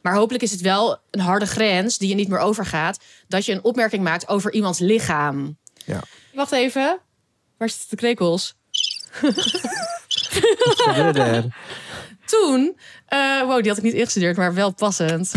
Maar hopelijk is het wel een harde grens die je niet meer overgaat. Dat je een opmerking maakt over iemands lichaam. Ja. Wacht even. Waar zitten de krekels? Wat gebeurde er? Toen, eh, wow, die had ik niet ingestudeerd, maar wel passend.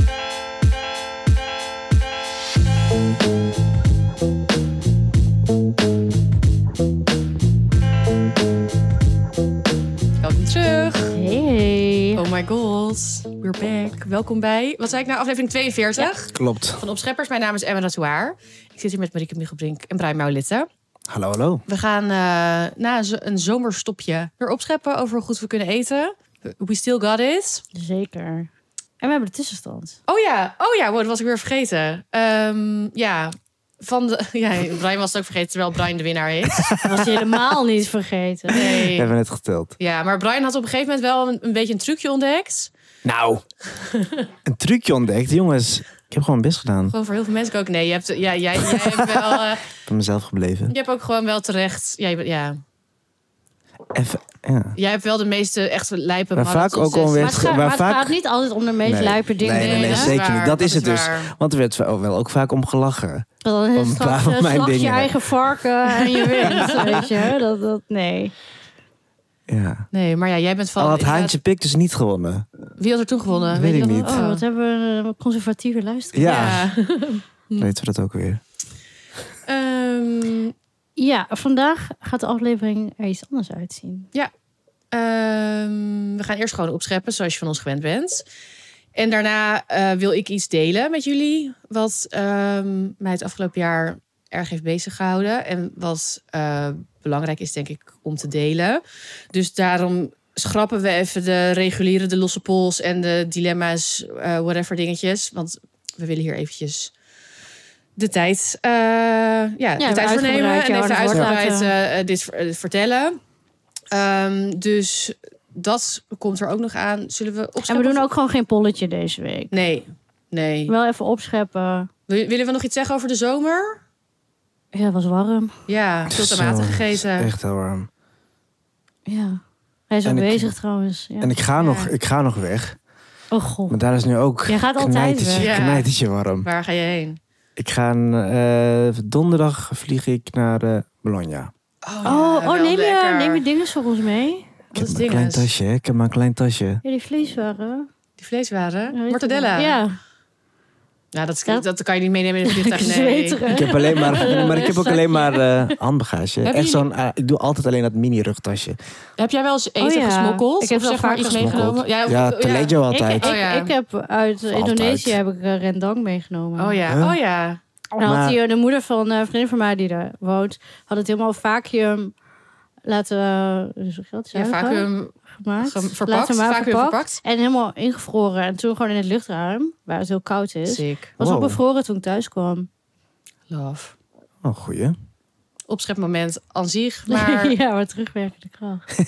Welkom terug. Hey. Oh my god, we're back. Welkom bij, wat zei ik nou, aflevering 42 Klopt. van Opscheppers. Mijn naam is Emma Ratouaar. Ik zit hier met Marieke Michelbrink en Brian Maulitte. Hallo, hallo. We gaan eh, na een zo- een zomerstopje weer opscheppen over hoe goed we kunnen eten. We still got it. Zeker. En we hebben de tussenstand. Oh ja, oh ja, wow, dat was ik weer vergeten. Ehm, ja, van de, ja, Brian was het ook vergeten, terwijl Brian de winnaar is. Dat was je helemaal niet vergeten. Nee. We hebben net geteld. Ja, maar Brian had op een gegeven moment wel een, een beetje een trucje ontdekt. Nou, een trucje ontdekt. Jongens, ik heb gewoon mijn best gedaan. Gewoon voor heel veel mensen ook. Nee, je hebt, ja, jij, jij hebt wel, eh, Ik ben mezelf gebleven. je hebt ook gewoon wel terecht. Ja, je bent- ja, Even, ja. jij hebt wel de meeste echt lijpe Maar vaak marathons. ook al Maar weer- Maar- het, gaat, Maar maar het vaak- gaat niet altijd om de meest Nee. luiper dingen. Nee, nee, nee, dat is hè? zeker waar, niet. Dat is het dus. waar. Want er werd wel wel ook vaak om gelachen. Dan is het Om een straks, paar eh, van mijn slag je dingen. eigen varken en je wint. weet je? Dat, dat, nee. Ja. Nee, maar ja, jij bent van... Al had Haantje Pik dus niet gewonnen. Wie had er toen gewonnen? Weet ik je dat niet. nog? Oh, Oh. wat hebben we een conservatieve luisteraar. Ja, Ja. weten we dat ook weer. Ehm, Ja, vandaag gaat de aflevering er iets anders uitzien. Ehm, we gaan eerst gewoon opscheppen, zoals je van ons gewend bent. En daarna eh, wil ik iets delen met jullie. Wat ehm, mij het afgelopen jaar erg heeft bezig gehouden. En wat eh, belangrijk is, denk ik, om te delen. Dus daarom schrappen we even de reguliere, de losse pols en de dilemma's, eh, whatever dingetjes. Want we willen hier eventjes de tijd, eh, ja, de we tijd voor nemen. uitgebreid En jou even aan het woord uitgebreid laten. eh, eh, dit ver- eh, vertellen. Ehm, dus dat komt er ook nog aan. Zullen we En opscheppen? we doen of- ook gewoon geen polletje deze week. Nee, nee. Wel even opscheppen. Wil- Willen we nog iets zeggen over de zomer? Ja, het was warm. Ja, veel tomaten Zo, gegeten. Echt heel warm. Ja. Hij is al En ik- bezig trouwens. Ja. En ik ga, Ja. nog, ik ga nog weg. Oh god. Maar daar is nu ook Jij gaat altijd knijtertje, weg. Ja. knijtertje warm. Waar ga je heen? Ik ga een, eh, donderdag vlieg ik naar eh, Bologna. Oh, oh neem, je, lekker. neem je dingen voor ons mee? Ik Wat heb is maar een klein dinges? tasje, hè. Ik heb maar een klein tasje. Ja, die vleeswaren. Die vleeswaren? Ja, weet Mortadella? ik wel. Ja. Nou, dat, is- Ja. dat kan je niet meenemen in het vliegtuig. Lekker Nee. zweterig. Ik heb alleen maar, maar ik heb ook alleen maar eh, handbagage. Hebben Echt jullie- zo'n, eh, ik doe altijd alleen dat mini-rugtasje. Heb jij wel eens eten Oh ja, gesmokkeld? ik heb of wel zeg maar vaak iets gesmokkeld. meegenomen? Ja, of- Ja, ja. Taleggio Ik, ik, altijd. Oh ja. ik heb uit Altijd. Indonesië heb ik eh, rendang meegenomen. Oh ja, Huh? oh ja. En had Maar- die, eh, de moeder van eh, een vriendin van mij die daar woont, had het helemaal vacuüm laten eh, hoe zeg je dat? Ja, Zuigen? vacuüm gemaakt. ge- verpakt. Laten maar Vacuüm verpakt. verpakt. En helemaal ingevroren. En toen gewoon in het luchtruim, waar het heel koud is. Sick. Was Wow. ook bevroren toen ik thuis kwam. Love. Oh, goeie. Opschepmoment aan zich, maar... ja, maar terugwerkende kracht.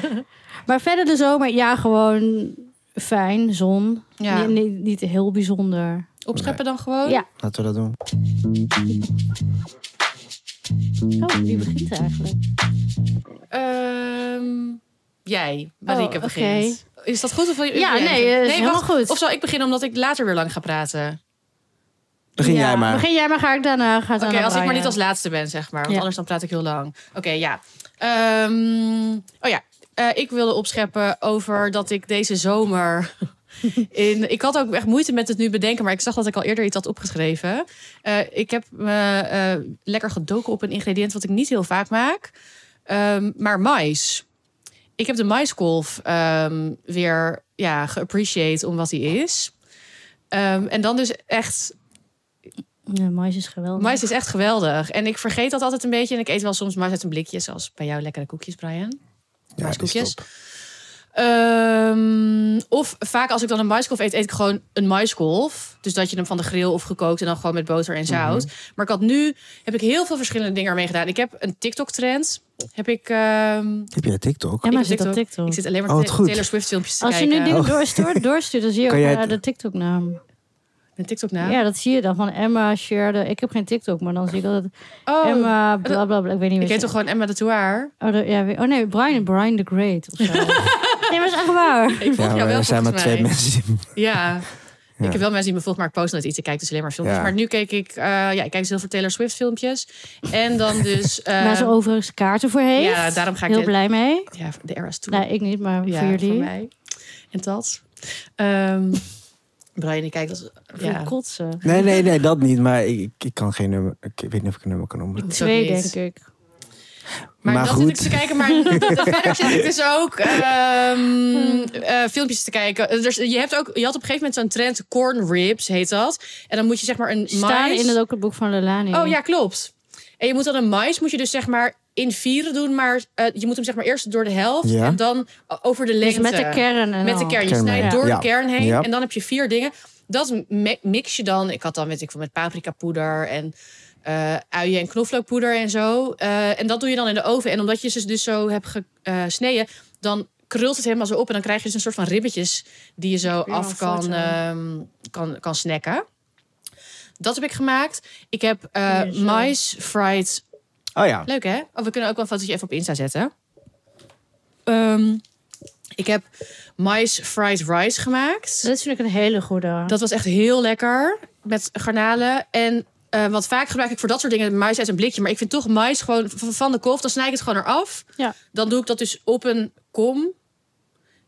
maar verder de zomer, ja, gewoon fijn, zon. Ja. Niet, niet, niet heel bijzonder. Opscheppen dan gewoon? Ja. Laten we dat doen. Oh, wie begint er eigenlijk? Ehm, jij, Marieke, Oh, begint. Is dat goed? Of wil je, Ja, wil jij nee, even- eh, is helemaal goed. Of zal ik beginnen omdat ik later weer lang ga praten? Begin Ja, jij maar. Begin jij maar, ga ik daarna. Ga Oké, als ik maar niet als laatste ben, zeg maar. Want Ja. anders dan praat ik heel lang. Oké, ja. Ehm, oh ja, Eh, ik wilde opscheppen over dat ik deze zomer... In, ik had ook echt moeite met het nu bedenken, maar ik zag dat ik al eerder iets had opgeschreven. Eh, ik heb me eh, lekker gedoken op een ingrediënt wat ik niet heel vaak maak. Ehm, maar mais. Ik heb de maiskolf ehm, weer ja, geappreciate om wat hij is. Ehm, en dan dus echt Ja, mais is geweldig. Mais is echt geweldig. En ik vergeet dat altijd een beetje. En ik eet wel soms mais uit een blikje. Zoals bij jou lekkere koekjes, Brian. die maiskoekjes. is top. Ehm, of vaak als ik dan een maiskolf eet, eet ik gewoon een maiskolf. Dus dat je hem van de grill of gekookt en dan gewoon met boter en zout. Mhm. Maar ik had nu, heb ik heel veel verschillende dingen ermee gedaan. Ik heb een TikTok-trend. Heb ik... ehm, Heb jij TikTok? Emma ik zit op TikTok. Ik zit alleen maar Oh, wat te- goed. Oh. Taylor Swift filmpjes te Als je kijken. nu dingen doorstuurt, doorstuurt, dan zie je ook Kan jij eh, het- de TikTok-naam. Een TikTok Ja. naam? dat zie je dan. Van Emma, Sherde. Ik heb geen TikTok, maar dan zie ik altijd Oh, Emma, bla bla bla. Ik weet niet ik meer. heet toch gewoon Emma de Tour? Oh, de- ja, we- oh nee, Brian, Brian the Great of zo. nee, maar dat is echt waar. Ik volg Ja, jou maar wel er zijn maar volgens twee mij. mensen. die- Ja. Ik heb wel mensen die me volgen, maar ik post nooit iets. Ik kijk dus alleen maar filmpjes. Ja. Maar nu keek ik, eh, ja, ik kijk dus heel veel Taylor Swift filmpjes. En dan dus... eh, Waar ze overigens kaarten voor heeft. ja, daarom ga ik Heel de, blij mee. ja, de Eras toe. Nee, ik niet, maar ja, voor voor, jullie. mij. En dat. Ehm Brian, ik kijk als... Voor Ja, kotsen. Nee, nee, nee, dat niet. Maar ik, ik kan geen nummer. Ik weet niet of ik een nummer kan noemen. moet Twee, ook niet. denk ik. Maar, Maar dat goed. zit ik te kijken. Maar verder zit ik dus ook ehm, eh, filmpjes te kijken. Eh, dus je, hebt ook, je had op een gegeven moment zo'n trend, corn ribs heet dat. En dan moet je zeg maar een Staan mais... in het ook het boek van Lelani. Oh ja, klopt. En je moet dan een mais, moet je dus zeg maar in vieren doen. Maar eh, je moet hem zeg maar eerst door de helft Ja. en dan over de Dus lengte. met de kern en Met de al. kern. Je Kern snijdt mee. door Ja. de kern heen Ja. en dan heb je vier dingen. Dat me- mix je dan. Ik had dan weet ik veel met paprika poeder en eh, uien en knoflookpoeder en zo. Eh, en dat doe je dan in de oven. En omdat je ze dus zo hebt gesneden, dan krult het helemaal zo op. En dan krijg je dus een soort van ribbetjes die je zo Ja, af kan, foto. ehm, kan, kan snacken. Dat heb ik gemaakt. Ik heb eh Hier zo. mais fried Oh ja. Leuk hè? Oh, we kunnen ook wel een fotootje even op Insta zetten. Ehm, ik heb mais fried rice gemaakt. Dat vind ik een hele goede. Dat was echt heel lekker. Met garnalen. En eh want vaak gebruik ik voor dat soort dingen mais uit een blikje. Maar ik vind toch mais gewoon v- van de kolf. Dan snij ik het gewoon eraf. Ja. Dan doe ik dat dus op een kom.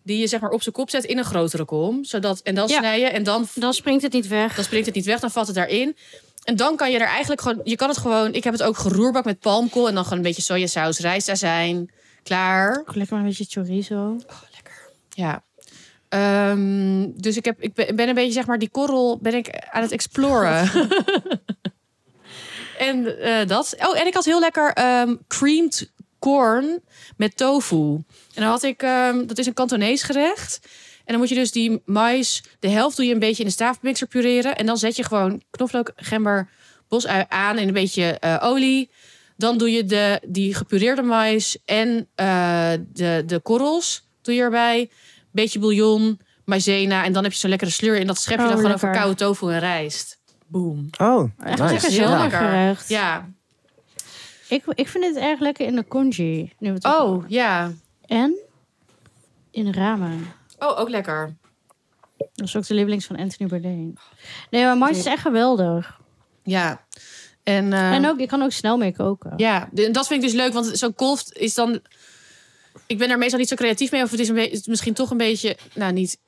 Die je zeg maar op zijn kop zet in een grotere kom. Zodat, en dan Ja. snij je. En dan Dan springt het niet weg. dan springt het niet weg, dan valt het daarin. En dan kan je er eigenlijk gewoon... Je kan het gewoon... Ik heb het ook geroerbak met palmkool... en dan gewoon een beetje sojasaus, rijstazijn. Klaar. Ook Lekker maar een beetje chorizo. Ja. Ehm, dus ik, heb, ik ben ben een beetje, zeg maar, die korrel ben ik aan het exploren. en eh, dat. Oh, en ik had heel lekker ehm, creamed corn met tofu. En dan had ik, ehm, dat is een Kantonees gerecht. En dan moet je dus die mais, de helft doe je een beetje in de staafmixer pureren. En dan zet je gewoon knoflook, gember, bosui aan en een beetje eh, olie. Dan doe je de, die gepureerde mais en eh, de, de korrels doe je erbij. Beetje bouillon, maizena. En dan heb je zo'n lekkere sleur. En dat schep je Oh, dan gewoon lekker. over koude tofu en rijst. Boom. Oh, Echt echt nice. een heel Ja. lekker. zomergerecht. Ja. Ik, ik vind het erg lekker in de congee. Nu we het Oh, ja. En in ramen. Oh, ook lekker. Dat is ook de lievelings van Anthony Bourdain. Nee, maar mais is echt geweldig. Ja. En, eh, En ook, je kan ook snel mee koken. Ja, de- en dat vind ik dus leuk, want zo'n kolf is dan... Ik ben daar meestal niet zo creatief mee, of het is, een be- is misschien toch een beetje... Nou, niet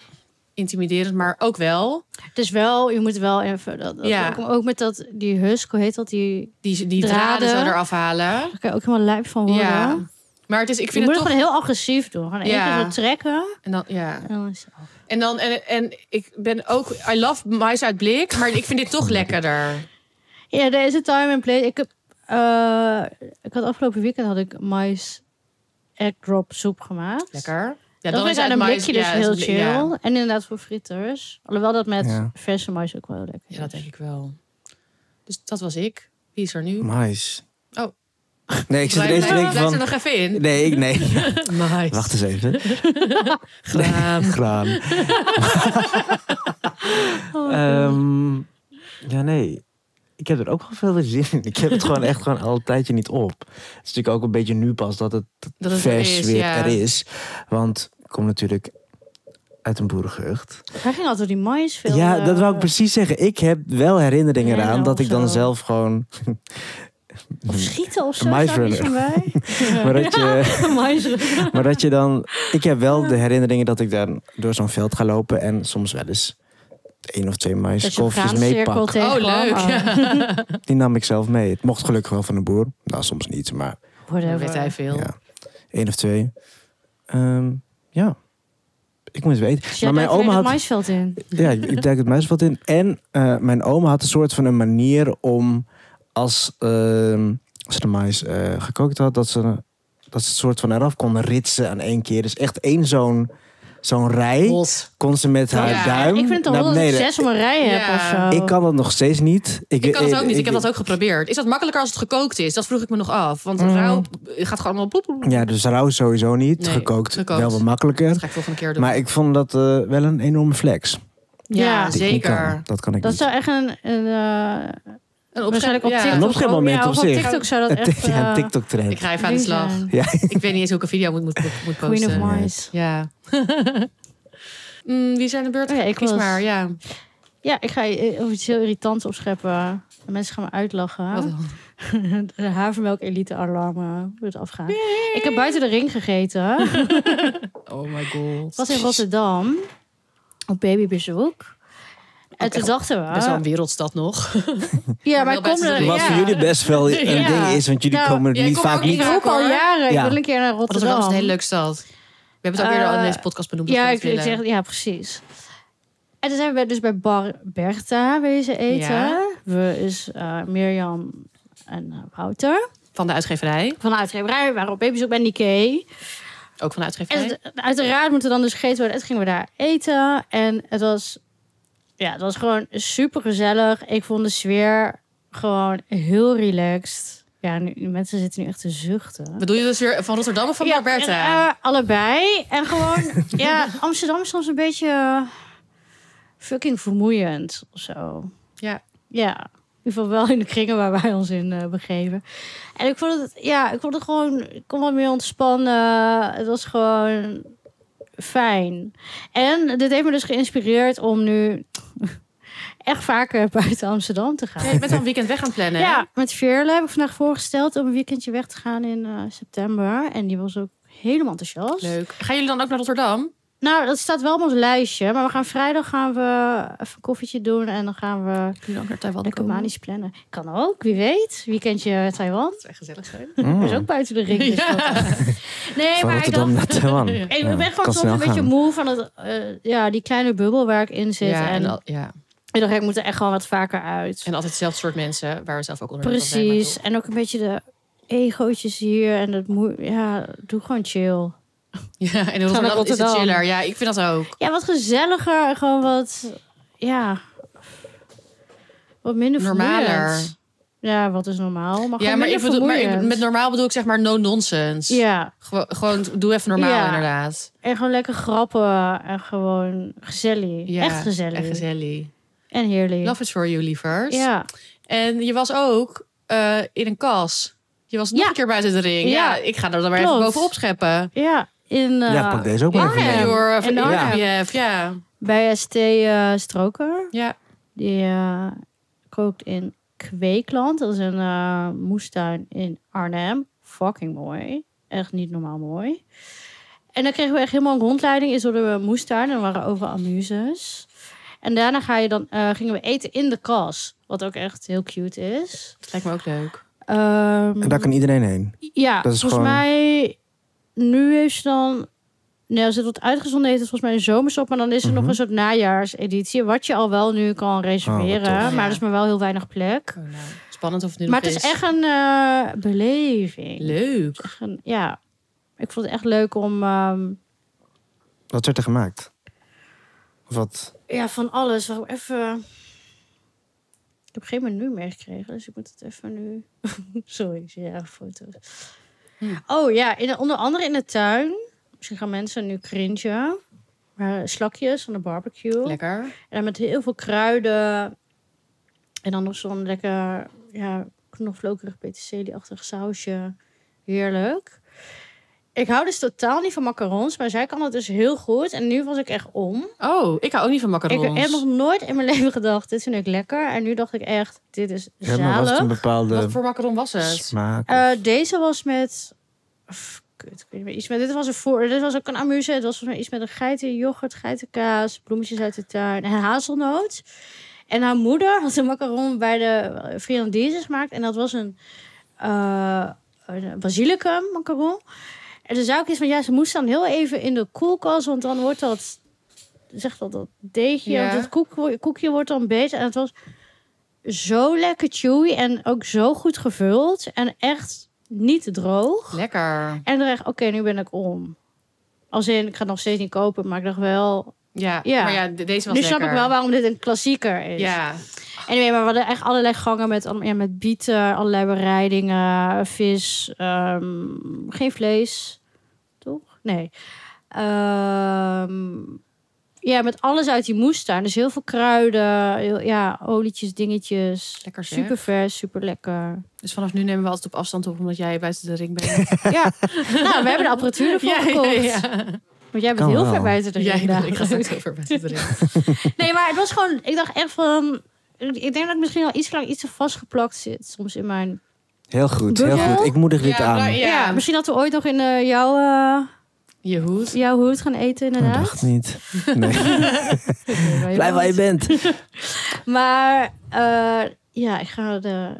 intimiderend, maar ook wel. Het is wel, je moet wel even... Dat, dat- Ja. ook, ook met dat, die husk, hoe heet dat? Die, Die, die draden. Draden. zo eraf halen. daar kan je ook helemaal lijp van worden. Ja. Maar het is, ik Je vind moet het het toch... gewoon heel agressief doen. Gewoon één Ja. keer zo trekken. En dan, ja. En dan is het af. En dan, en, en ik ben ook... I love mais uit blik, maar ik vind dit toch lekkerder. Ja, er is een time and place. Ik, heb, eh, ik had afgelopen weekend had ik mais egg drop soep gemaakt. Lekker. Ja, dat vind ik aan een mais- blikje ja, dus is heel een blik- chill. Ja. En inderdaad voor fritters. Alhoewel dat met Ja. verse mais ook wel lekker is. ja, dat denk ik wel. Dus dat was ik. Wie is er nu? Nice. Oh. Nee, ik zit Blijf, ineens te denken blijf er van... nog even in. Nee, ik, nee. Mais. Wacht eens even. Graan. Graan. Oh, Ehm, ja, nee. Ik heb er ook wel veel zin in. Ik heb het gewoon echt gewoon al een tijdje niet op. Het is natuurlijk ook een beetje nu pas dat het, Dat het er vers is, weer ja. er is. Want ik kom natuurlijk uit een boerengehucht. Hij ging altijd die mais veel. Ja, dat wou ik eh, precies zeggen. Ik heb wel herinneringen Ja, eraan of dat ik dan zo. zelf gewoon... Of schieten of zo. Een staat niet van mij. maar, dat je, Een maisrunner. maar dat je dan... Ik heb wel de herinneringen dat ik daar door zo'n veld ga lopen en soms wel eens één of twee Dat je muiskofjes graancirkel meepak. tegen Oh, leuk. Die nam ik zelf mee. Het mocht gelukkig wel van de boer. Nou, soms niet, maar Dan weet hij veel. ja. Één of twee. Ehm, ja. Ik moet het weten. Dus jij maar mijn oma duikt weer had... het maisveld in. Ja, ik, ik duik het muisvat in. En eh, mijn oma had een soort van een manier om... Als, ehm, als ze de mais eh, gekookt had, dat ze, dat ze het soort van eraf kon ritsen aan één keer. Dus echt één zo'n zo'n rij kon ze met haar Ja, duim Ik vind het dan naar wel dat ik beneden. zes om een rij heb Ja. of zo. Ik kan dat nog steeds niet. Ik kan het ook niet. Ik heb dat ook geprobeerd. Is dat makkelijker als het gekookt is? Dat vroeg ik me nog af. Want Mm. rauw eh, gaat gewoon allemaal bloep, bloep, bloep. Ja, dus rauw sowieso niet. Nee, gekookt, gekookt. wel wat makkelijker. Dat ga ik volgende keer doen. Maar ik vond dat eh, wel een enorme flex. ja, Ja. Die ik niet kan. zeker. Dat kan ik Dat niet. zou echt een... een eh, Een waarschijnlijk op ja. TikTok. Een opschepmoment ook- ja, op of zich. TikTok zou dat echt... ja, eh, een TikTok-trend. Ik ga even aan de ding slag. zijn. Ja. Ik weet niet eens hoe ik een video moet, moet, moet Queen of posten. Nee. Mais. Ja. Mm, wie zijn de beurt? Oh ja, ik Kies was- maar, ja. Ja, ik ga eh, of iets heel irritants opscheppen. En mensen gaan me Wat uitlachen. dan? De havermelk elite alarmen moet afgaan. Ik heb buiten de ring gegeten. Oh my god. Ik was in Rotterdam. Op babybezoek. En Ook toen echt dachten we... Best wel een wereldstad nog. Ja, maar Wel ik kom buiten de er... ring. Wat ja. voor jullie best wel een Ja. ding is, want jullie Nou, komen er jij niet komt vaak ook niet niet. Ik roep al Hoor. jaren, Ja. ik wil een keer naar Rotterdam. Rotterdam is Oh, een hele leuke stad. We hebben het ook Eh, eerder al in deze podcast benoemd. dat Ja, we ik, het ik willen. zeg, ja, precies. En toen zijn we dus bij Bar Bertha wezen eten. Ja. We is eh, Mirjam en eh, Wouter. Van de uitgeverij. Van de uitgeverij. We waren op bezoek bij Nikkei. Ook van de En uitgeverij. het- uiteraard moeten we dan dus gegeten worden. En toen gingen we daar eten. En het was, ja, het was gewoon super gezellig. Ik vond de sfeer gewoon heel relaxed. Ja, nu, de mensen zitten nu echt te zuchten. Bedoel je dus weer van Rotterdam of van Ja, Barberta? en, eh, allebei. En gewoon, ja, Amsterdam is soms een beetje eh, fucking vermoeiend of zo. Ja. Ja, in ieder geval wel in de kringen waar wij ons in eh, begeven. En ik vond het, ja, ik vond het gewoon, ik kon wat meer ontspannen. Het was gewoon fijn. En dit heeft me dus geïnspireerd om nu echt vaker buiten Amsterdam te gaan. Ja, je bent al een weekend weg aan het plannen. hè? Ja, met Veerle heb ik vandaag voorgesteld om een weekendje weg te gaan in eh, september. En die was ook helemaal enthousiast. Leuk. Gaan jullie dan ook naar Rotterdam? Nou, dat staat wel op ons lijstje. Maar we gaan vrijdag gaan we even een koffietje doen. En dan gaan we Kunnen jullie ook naar Taiwan lekker komen? manisch plannen. Kan ook, wie weet. Weekendje Taiwan. Het zou echt gezellig zijn. Hmm, Dat is ook buiten de ring. dus dat- Nee, Van maar ik dacht... Rotterdam naar Taiwan. Ik Ik eh, Ja, ben kan gewoon soms snel een beetje gaan. moe van het, eh, ja, die kleine bubbel waar ik in zit. Ja, en en, al- ja. ik dacht, ik moet er echt gewoon wat vaker uit. en altijd hetzelfde soort mensen waar we zelf ook onder de indruk van zijn, Precies. maar En ook een beetje de egootjes hier. En dat moet... Ja, doe gewoon chill. toch. Ja, en in Rotterdam, is het Rotterdam. chiller. Ja, ik vind dat ook. Ja, wat gezelliger. en Gewoon wat... Ja... Wat minder Normaler. vermoeiend. Ja, wat is normaal? Maar Ja, maar, ik bedoel, maar ik- met normaal bedoel ik zeg maar no nonsense. Ja, Gewo- gewoon doe even normaal Ja. inderdaad. en gewoon lekker grappen. En gewoon gezellig. Ja, echt gezellig. Echt gezellig. En heerlijk. Love is for you, lievers. ja. En je was ook eh, in een kas. Je was nog Ja. een keer buiten de ring. Ja, Ja. ik ga er dan maar even Klopt. bovenop scheppen. ja, in... eh, Ja, pak deze ook maar even Arnhem. mee. Your, of En Arnhem. IPF, ja. Bij ST eh, Stroker. ja. Die eh, kookt in Kweekland. Dat is een eh, moestuin in Arnhem. Fucking mooi. Echt niet normaal mooi. En dan kregen we echt helemaal een rondleiding in zo'n eh, moestuin. En er waren overal amuses. En daarna ga je dan, eh, gingen we eten in de kas. Wat ook echt heel cute is. Dat lijkt me ook leuk. Ehm, En daar kan iedereen heen. ja, dat is volgens gewoon- mij... Nu heeft ze dan... Nou, als het wordt uitgezonden, heeft het volgens mij een zomers op. Maar dan is er nog Mhm. Oh, een soort najaarseditie. Wat je al wel nu kan reserveren. tof. maar Ja. er is maar wel heel weinig plek. Oh, nou, Spannend of het nu Maar nog het is is. echt een eh, beleving. leuk. Echt een- ja, ik vond het echt leuk om... ehm, Wat werd er gemaakt? Of wat? ja, van alles. Wacht even... Ik heb geen menu meer gekregen, dus ik moet het even nu... Sorry, ik zie ja, foto's. Hm. Oh ja, in de- onder andere in de tuin. Misschien gaan mensen nu cringen. Maar slakjes van de barbecue. Lekker. En dan met heel veel kruiden. En dan nog zo'n lekker ja, knoflookerig peterselie-achtig sausje. Heerlijk. Ik hou dus totaal niet van macarons, maar zij kan dat dus heel goed. En nu was ik echt om. Oh, ik hou ook niet van Ik macarons. heb nog nooit in mijn leven gedacht, dit vind ik lekker. En nu dacht ik echt, dit is Ja, maar was het een zalig. bepaalde Wat voor macaron was het? smaak? Eh, deze was met... Pff, kut, ik weet niet meer. Iets met, dit was een voor... Dit was ook een amuse. Het was volgens mij iets met een geiten, yoghurt, geitenkaas, bloemetjes uit de tuin en hazelnoot. En haar moeder had een macaron bij de eh, friandises gemaakt. En dat was een, eh een basilicum macaron. En toen zou ik eens van, ja, ze moest dan heel even in de koelkast. Want dan wordt dat, zeg dat, dat deegje, Ja. want dat koek, koekje wordt dan beter. En het was zo lekker chewy en ook zo goed gevuld. En echt niet droog. Lekker. En dan dacht ik, oké, nu ben ik om. Als in, ik ga het nog steeds niet kopen, maar ik dacht wel... Ja, Ja. maar ja, de- deze was nu lekker. snap ik wel waarom dit een klassieker is. Ja, Anyway, maar we hadden echt allerlei gangen met, allemaal- ja, met bieten, allerlei bereidingen, vis, ehm, geen vlees, toch? Nee. Ehm, ja, met alles uit die moestuin. Dus heel veel kruiden, heel- ja, olietjes, dingetjes. Lekker zeg. Super vers, super lekker. dus vanaf nu nemen we altijd op afstand op, omdat jij buiten de ring bent. ja, nou, we hebben de apparatuur ervoor Ja, ja, gekocht. ja. Want jij bent Kan heel wel. ver buiten de Ja, ring. ik ga daar. straks over met het erin. Nee, maar het was gewoon... Ik dacht echt van... Ik denk dat ik misschien al iets te lang iets te vastgeplakt zit. Soms in mijn... Heel goed, heel Bubbel? goed. Ik moedig dit Ja, aan. maar- Ja, misschien dat we ooit nog in eh, jouw, eh, Je hoed. jouw hoed gaan eten Ik inderdaad. Oh, dacht niet. Nee. Nee, maar je Blijf waar je bent. bent. Maar eh, ja, ik ga, de,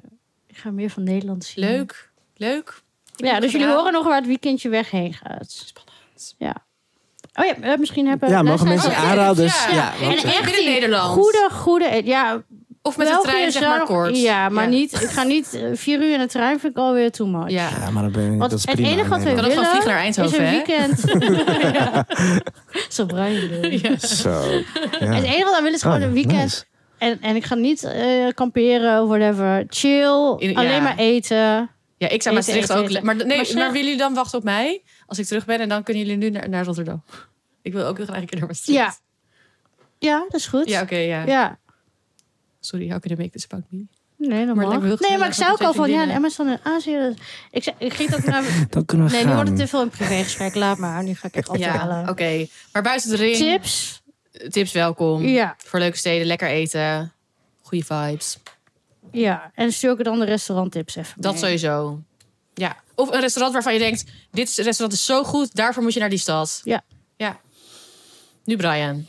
ik ga meer van Nederland zien. Leuk. Leuk. Ja, dus jullie Ja. horen nog waar het weekendje weg heen gaat. Spannend. Ja. Oh ja, eh, misschien hebben Ja, mogen luisteraars- mensen Oké, aanraders? Oh, ja. Ja, En want- eh, En echt Binnen Nederland. Goede, goede. eh, Ja, Of met België de trein, is zeg wel maar nog- kort. Ja, maar Ja. niet. Ik ga niet eh, vier uur in de trein. Vind ik alweer too much. Ja. ja, maar dan ben ik, Want dat is het prima. enige wat we Nee, Kan ook gewoon willen vliegen naar Is Eindhoven, hè? een weekend. ja. Zo bruin. doen. Ja. dat- Zo. Ja. Het enige dat we willen is gewoon Oh, een weekend. nice. En, en ik ga niet eh, kamperen of whatever. Chill. In- ja. Alleen maar eten. Ja, ik zou Eten, Maastricht eten, ook... eten. Maar, nee, Maar maar, snel- willen jullie dan wachten op mij? Als ik terug ben en dan kunnen jullie nu naar, naar Rotterdam. Ik wil ook heel graag een keer naar Maastricht. Ja. Ja, dat is goed. Ja, oké, ja. Ja. Sorry, how can I make this about me? Nee, dat Maar het mag. lijkt me heel Nee, maar gezellig ik zei ook met al twee van, ja, en vriendinnen. Emma is dan in Azië. Dus Ik, zei, ik ging dat naar... Dan kunnen we Nee, nu gaan. wordt het te veel een privégesprek. Laat maar. Nu ga ik echt afhalen. Ja, oké. Maar buiten de ring, Tips? tips welkom. Ja. Voor leuke steden, lekker eten. Goede vibes. Ja. En stuur ook dan de restauranttips even Dat mee. sowieso. Ja. Of een restaurant waarvan je denkt: dit is- restaurant is zo goed, daarvoor moet je naar die stad. Ja. Ja. Nu Eh, Brian.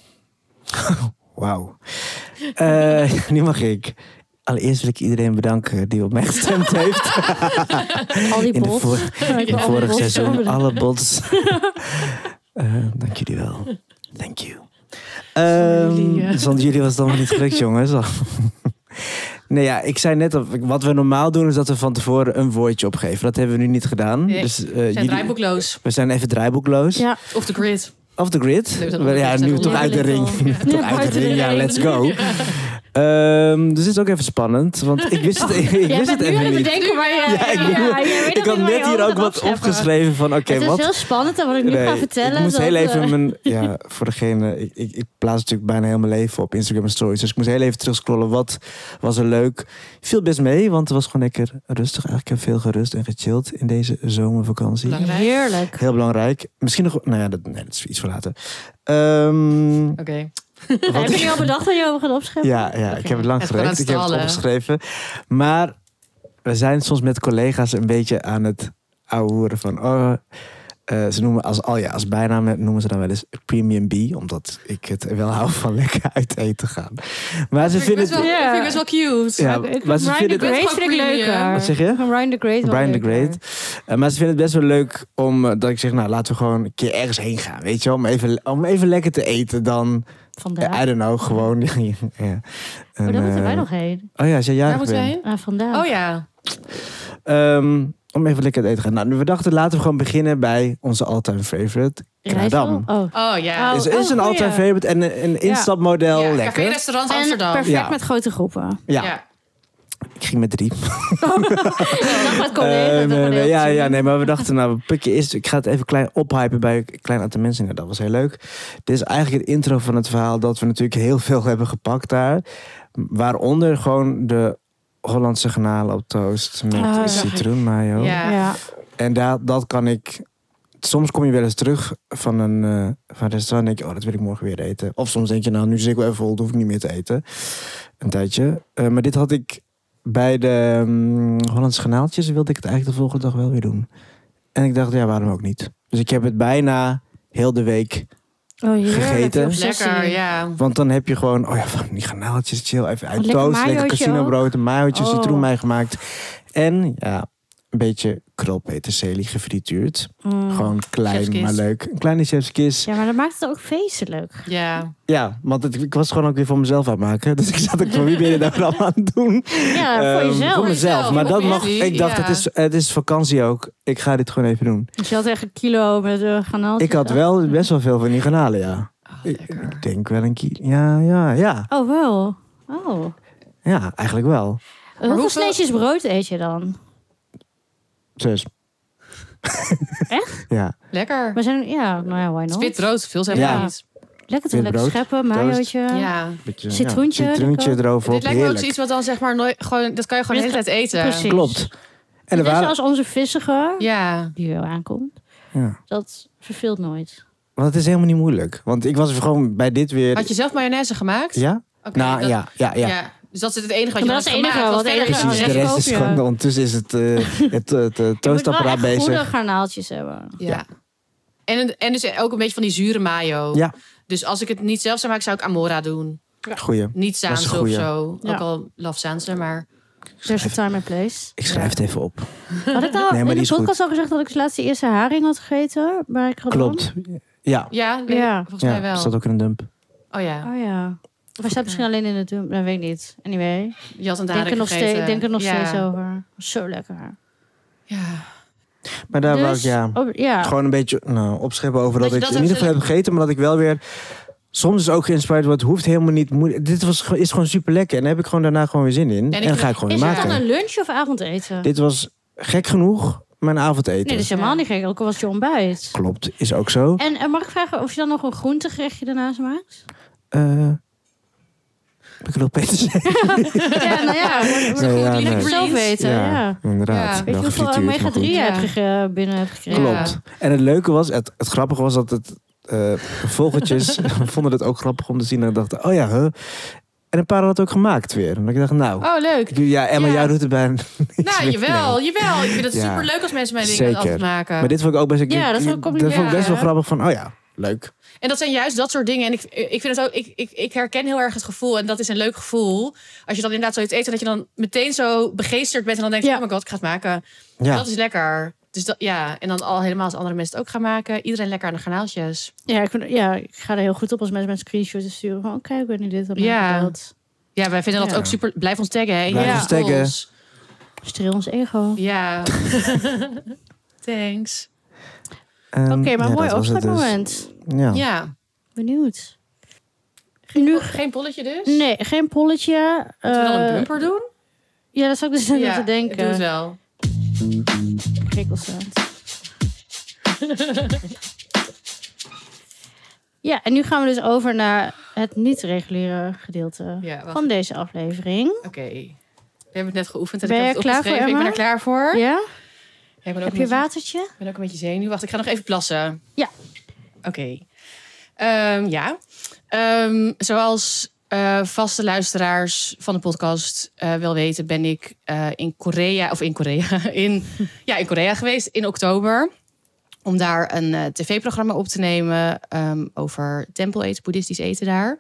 Wauw. Eh, nu mag ik. Allereerst wil ik iedereen bedanken die op mij gestemd heeft. Al die In, de bots. vor- Ja, ik in wil al die vorig bots seizoen. hebben. Alle bots. Eh, dank jullie wel. Thank you. Ehm, jullie, eh. Zonder jullie was het allemaal niet gelukt, jongens. Nee, ja, ik zei net, al, wat we normaal doen is dat we van tevoren een woordje opgeven. Dat hebben we nu niet gedaan. Nee, dus, eh, We zijn jullie- draaiboekloos. we zijn even draaiboekloos. Ja. Of the grid. Off the grid. Nee, we zijn Wel, onderweg, ja, nu zijn we we toch uit de ring. onderweg al. toch Ja, uit de ring, ja, let's go. Ehm, dus dit is ook even spannend, want ik wist het, ik Jij wist het bent nu aan even het niet. bedenken waar je... Ja, ik bedoel, jij weet nog Ik had niet waar je net hier hoofd ook gaat wat afscheppen. opgeschreven van, oké, Het is wat... heel spannend en wat ik nu Nee, ga vertellen... ik moest dat, heel even eh, mijn... Ja, voor degene... Ik, ik, ik plaats natuurlijk bijna heel mijn leven op Instagram stories. Dus ik moest heel even terugscrollen. Wat was er leuk? Viel best mee, want het was gewoon lekker rustig. Eigenlijk heb ik veel gerust en gechilled in deze zomervakantie. Belangrijk. Heerlijk. Heel belangrijk. Misschien nog... Nou ja, dat, nee, dat is iets voor later. Ehm, Oké. Ja, wat Heb je al bedacht dat je over gaat opscheppen? Ja, ja ik heb het lang Het gewoon gewerkt. Ik heb het uitstallen. opgeschreven. Maar we zijn soms met collega's een beetje aan het ouwehoeren van... Oh, eh, ze noemen als, al ja, als bijnaam noemen ze dan wel eens Premium B. Omdat ik het wel hou van lekker uit eten gaan. Maar ze Vind ik vinden best het... wel, Ja. vind ik best wel cute. Ja, Ik- ik- maar ze Ryan vinden the het... Great Great gewoon eh, vind premium. ik leuker. Wat zeg je? Van Ryan the Great wel Brian the leuker. Great. Eh, maar ze vinden het best wel leuk om... eh, dat ik zeg, nou, laten we gewoon een keer ergens heen gaan. Weet je wel? Om even, om even lekker te eten dan... Vandaag. eh, I don't know, gewoon... ja. Maar En, daar moeten wij eh, nog heen. Oh ja, als jij Waar jarig moeten we bent. heen? Ah, vandaag. Oh ja. Ehm, om even lekker uit eten te gaan. Nou, we dachten laten we gewoon beginnen bij onze all-time favorite, Rijssel? Kradam. Oh. Oh ja. Oh, is, is een goeie. all-time favorite en een, een instapmodel. ja. Café lekker. restaurant En Amsterdam. perfect Ja. met grote groepen. Ja, Ja. ik ging met drie. Dag met Eh, collega's. nee, nee, ja, ja, nee. nee, maar we dachten, nou, pukje is. Ik ga het even klein ophypen bij een klein aantal mensen. Nou, dat was heel leuk. Dit is eigenlijk het intro van het verhaal dat we natuurlijk heel veel hebben gepakt daar. Waaronder gewoon de Hollandse granalen op toast met Ah, ja. citroenmayo. Ja. Ja. En daar, dat kan ik. Soms kom je wel eens terug van een, eh, van een restaurant en denk je, oh, dat wil ik morgen weer eten. Of soms denk je, nou, nu zit ik wel even vol, dat hoef ik niet meer te eten. Een tijdje. Eh, maar dit had ik bij de mm, Hollandse Granaaltjes, wilde ik het eigenlijk de volgende dag wel weer doen. En ik dacht, ja, waarom ook niet? Dus ik heb het bijna heel de week. Oh, heerlijk. Gegeten. die obsessie. Lekker, ja. Want dan heb je gewoon, oh ja, van die granaaltjes, chill, even uit Oh, Lekker toast, lekker mayootje casino brood, een mayootje, Oh. citroenmei gemaakt. En, ja, een beetje krulpeterselie gefrituurd. Mm. Gewoon klein, Chefskiss. maar leuk. Een kleine chefskiss. Ja, Ja, maar dat maakt het ook feestelijk. Ja. want het- ik was gewoon ook weer voor mezelf aan het maken. Dus ik zat ook van wie ben je nou allemaal aan het doen? Ja, Ehm, voor Voor jezelf. mezelf. Maar dat mag, ik dacht, Ja. het, is, het is vakantie ook. Ik ga dit gewoon even doen. Dus je had echt een kilo met uh, Ik had wel best wel veel van die granalen, ja. Ik, ik denk wel een kilo. Ja, ja, ja. Oh, wel. Oh. Ja, eigenlijk wel. Hoeveel hoeveel- sneetjes brood eet je dan? Zes. Echt? Ja. Lekker. Maar zijn, ja, nou ja, why Spit not? brood, veel zijn Ja. ja. niet. Lekker toch wit brood, lekker scheppen, toast. mayootje. Ja. Beetje, Citroentje, Ja, citroentje lekker. erover. Dit lijkt me ook Heerlijk. zoiets wat dan zeg maar nooit gewoon dat kan je gewoon de Dit- hele tijd eten. precies. Klopt. En er Net waren, zoals onze vissiger, Ja. die wel aankomt. ja. Dat verveelt nooit. Want het is helemaal niet moeilijk. Want ik was gewoon bij dit weer... Had je zelf mayonaise gemaakt? Ja? Oké, nou, dat- ja, ja, ja. Dus dat is het enige wat je Maar dat had is het enige gemaakt, wat- want het enige verder- Precies, Ja, de rest is koop je. gewoon... Ondertussen is het, eh, het, eh, het, eh, Je moet wel toostapparaat echt goede bezig. garnaaltjes hebben. Ja. En, en dus ook een beetje van die zure mayo. Ja. Dus als ik het niet zelf zou maken, zou ik Amora doen. Goeie. Niet Dat is een Saanse of goeie. zo. Ja. Ook al laf Saanse, maar... There's a time and place. Ik schrijf het even op. Had ik nou Nee, maar in die de is goed. podcast al gezegd dat ik de laatste eerste haring had gegeten? Waar ik gewoon- Klopt. Ja. Ja, nee, Ja. volgens mij Ja, wel. staat ook in een dump. Oh ja, Oh ja. Of hij staat misschien alleen in het dump. Dat weet ik niet. Anyway. je had een Denk er, nog steeds, denk er nog ja. steeds over. Zo lekker. Ja. Maar daar wou ik, Dus- ja... oh, ja. Gewoon een beetje nou, opscheppen over Dat dat, je ik dat in ieder geval hebt- heb gegeten. Maar dat ik wel weer soms is ook geïnspireerd word. Hoeft helemaal niet moeilijk. Dit was, ge- is gewoon super lekker. En daar heb ik gewoon daarna gewoon weer zin in. ik En, dan ga ik gewoon Is weer het dan maken. een lunch of avondeten? Dit was gek genoeg mijn avondeten. Nee, dus- dat is helemaal Ja. niet gek. Ook al was het je ontbijt. Klopt, is ook zo. En eh, mag ik vragen of je dan nog een groentegerechtje daarnaast maakt? Eh heb ik wil Peter zeggen. ja, nou ja. Wordt Nee, ja, goed. nee. Ik zelf weten. Ja. inderdaad. Ja. Ja. Weet je hoeveel eh, omega 3 Ja. heb gege- binnen hebt gekregen? Ja. Klopt. En het leuke was, het, het grappige was dat het, eh, vogeltjes vonden het ook grappig om te zien. En dachten, oh ja, huh. En een paar hadden het ook gemaakt weer. En ik dacht, nou, Oh, leuk. ja, Emma, Ja. jij doet het bijna. Nou, jawel, jawel. Ik vind het Ja. super leuk als mensen mijn dingen Zeker. altijd maken. Maar dit vond ik ook best, ik, Ja, dat is wel dat vond ik best wel compliment. grappig van, oh ja, leuk. En dat zijn juist dat soort dingen. En ik, ik vind het ook, ik, ik, ik herken heel erg het gevoel. En dat is een leuk gevoel. Als je dan inderdaad zoiets eet en dat je dan meteen zo begeesterd bent. En dan denk je, Ja. oh my god, ik ga het maken. Ja. Dat is lekker. Dus dat, ja, en dan al helemaal als andere mensen het ook gaan maken. Iedereen lekker aan de garnaaltjes. Ja ik, vind- ja, ik ga er heel goed op als mensen met screenshots sturen. Van, oh, kijk, ik ben nu dit allemaal Ja. ja. Ja, wij vinden dat Ja. ook super. Blijf ons taggen, hè? Blijf ja. ons taggen. ons. Streel ons ego. Ja. Thanks. Ehm, Oké, maar ja, mooi dat was het opstartmoment. dus. Ja. Ja. Benieuwd. Nu, Geen polletje dus? nee, geen polletje. Moeten we dan een Eh, bumper doen? ja, dat zou ik dus aan te denken. doe het wel. prikkelstand. ja, en nu gaan we dus over naar het niet-reguliere gedeelte Ja, wacht. van deze aflevering. Oké. We hebben het net geoefend en Ben ik je heb het klaar voor, opgeschreven. ik ben Emma? er klaar voor. Ja? Ja, ik ben ook Heb een je beetje- watertje? Ik ben ook een beetje zenuwachtig. Ik ga nog even plassen. Ja. Oké. Ehm, ja. Ehm, zoals eh, vaste luisteraars van de podcast eh, wel weten, ben ik eh, in Korea, of in Korea, in, ja, in Korea geweest in oktober. Om daar een eh, tv-programma op te nemen ehm, over tempeleten, boeddhistisch eten daar.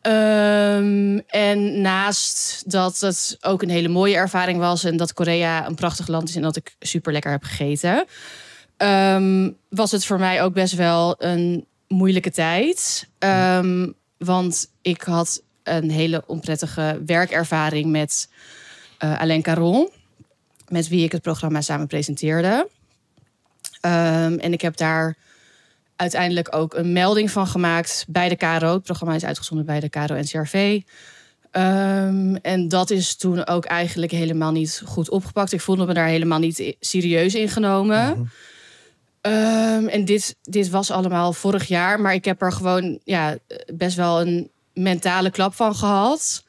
Ehm, en naast dat het ook een hele mooie ervaring was en dat Korea een prachtig land is en dat ik super lekker heb gegeten, ehm, was het voor mij ook best wel een moeilijke tijd. Ehm, want ik had een hele onprettige werkervaring met eh Alain Caron, met wie ik het programma samen presenteerde. Ehm, en ik heb daar uiteindelijk ook een melding van gemaakt bij de KRO. Het programma is uitgezonden bij de KRO NCRV. Ehm en dat is toen ook eigenlijk helemaal niet goed opgepakt. Ik voelde me daar helemaal niet i- serieus in genomen. Ehm, en dit, dit was allemaal vorig jaar, maar ik heb er gewoon ja, best wel een mentale klap van gehad.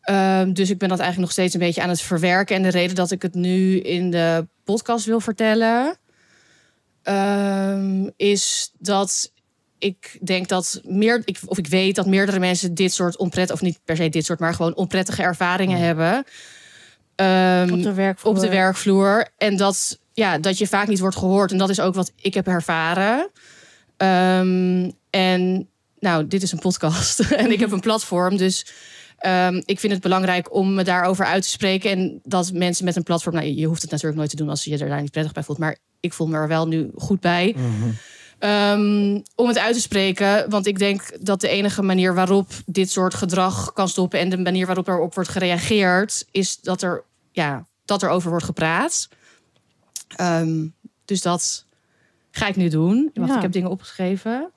Ehm, dus ik ben dat eigenlijk nog steeds een beetje aan het verwerken. En de reden dat ik het nu in de podcast wil vertellen, ehm, is dat ik denk dat meer, ik, of ik weet dat meerdere mensen dit soort onpret, of niet per se dit soort, maar gewoon onprettige ervaringen hebben. Ehm, Op de werkvloer. op de werkvloer. En dat, ja, dat je vaak niet wordt gehoord. En dat is ook wat ik heb ervaren. Ehm, en nou, dit is een podcast. en ik heb een platform. Dus ehm, ik vind het belangrijk om me daarover uit te spreken. En dat mensen met een platform. Nou, je hoeft het natuurlijk nooit te doen als je je er daar niet prettig bij voelt. Maar ik voel me er wel nu goed bij. Ehm, om het uit te spreken. Want ik denk dat de enige manier waarop dit soort gedrag kan stoppen. en de manier waarop erop wordt gereageerd. is dat er, ja, dat er over wordt gepraat. Ehm, dus dat ga ik nu doen. Wacht, Ja. ik heb dingen opgeschreven.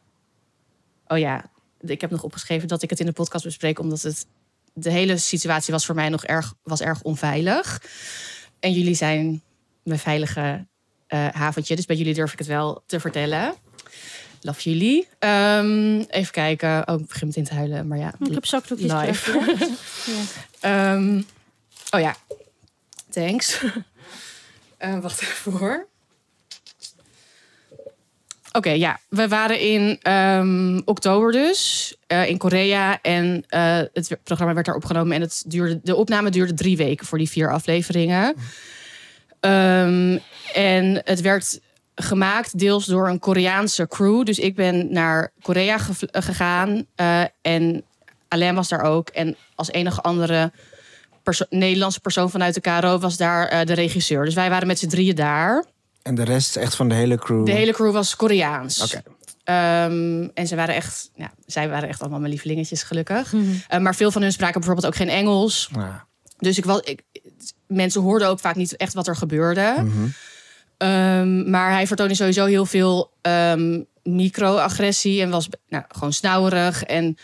Oh ja, ik heb nog opgeschreven dat ik het in de podcast bespreek. omdat het. de hele situatie was voor mij nog erg, was erg onveilig. En jullie zijn mijn veilige eh, haventje. Dus bij jullie durf ik het wel te vertellen. Love jullie. Ehm, even kijken. Oh, ik begin meteen te huilen. Maar ja. Ik heb zakdoekjes Live. gekregen. Ehm, oh ja. Thanks. Eh, wacht even hoor. Oké, ja. We waren in ehm, oktober dus eh, in Korea. En eh, het programma werd daar opgenomen. En het duurde, de opname duurde drie weken voor die vier afleveringen. Ehm, en het werd gemaakt deels door een Koreaanse crew. Dus ik ben naar Korea gev- eh, gegaan. eh, en Alain was daar ook. En als enige andere perso- Nederlandse persoon vanuit de KRO was daar eh, de regisseur. Dus wij waren met z'n drieën daar. En de rest is echt van de hele crew. De hele crew was Koreaans. Oké. Ehm, en ze waren echt, ja, zij waren echt allemaal mijn lievelingetjes, gelukkig. Eh, maar veel van hun spraken bijvoorbeeld ook geen Engels. Ja. Dus ik was, ik, mensen hoorden ook vaak niet echt wat er gebeurde. Ehm, maar hij vertoonde sowieso heel veel ehm, microagressie en was nou, gewoon snauwerig. En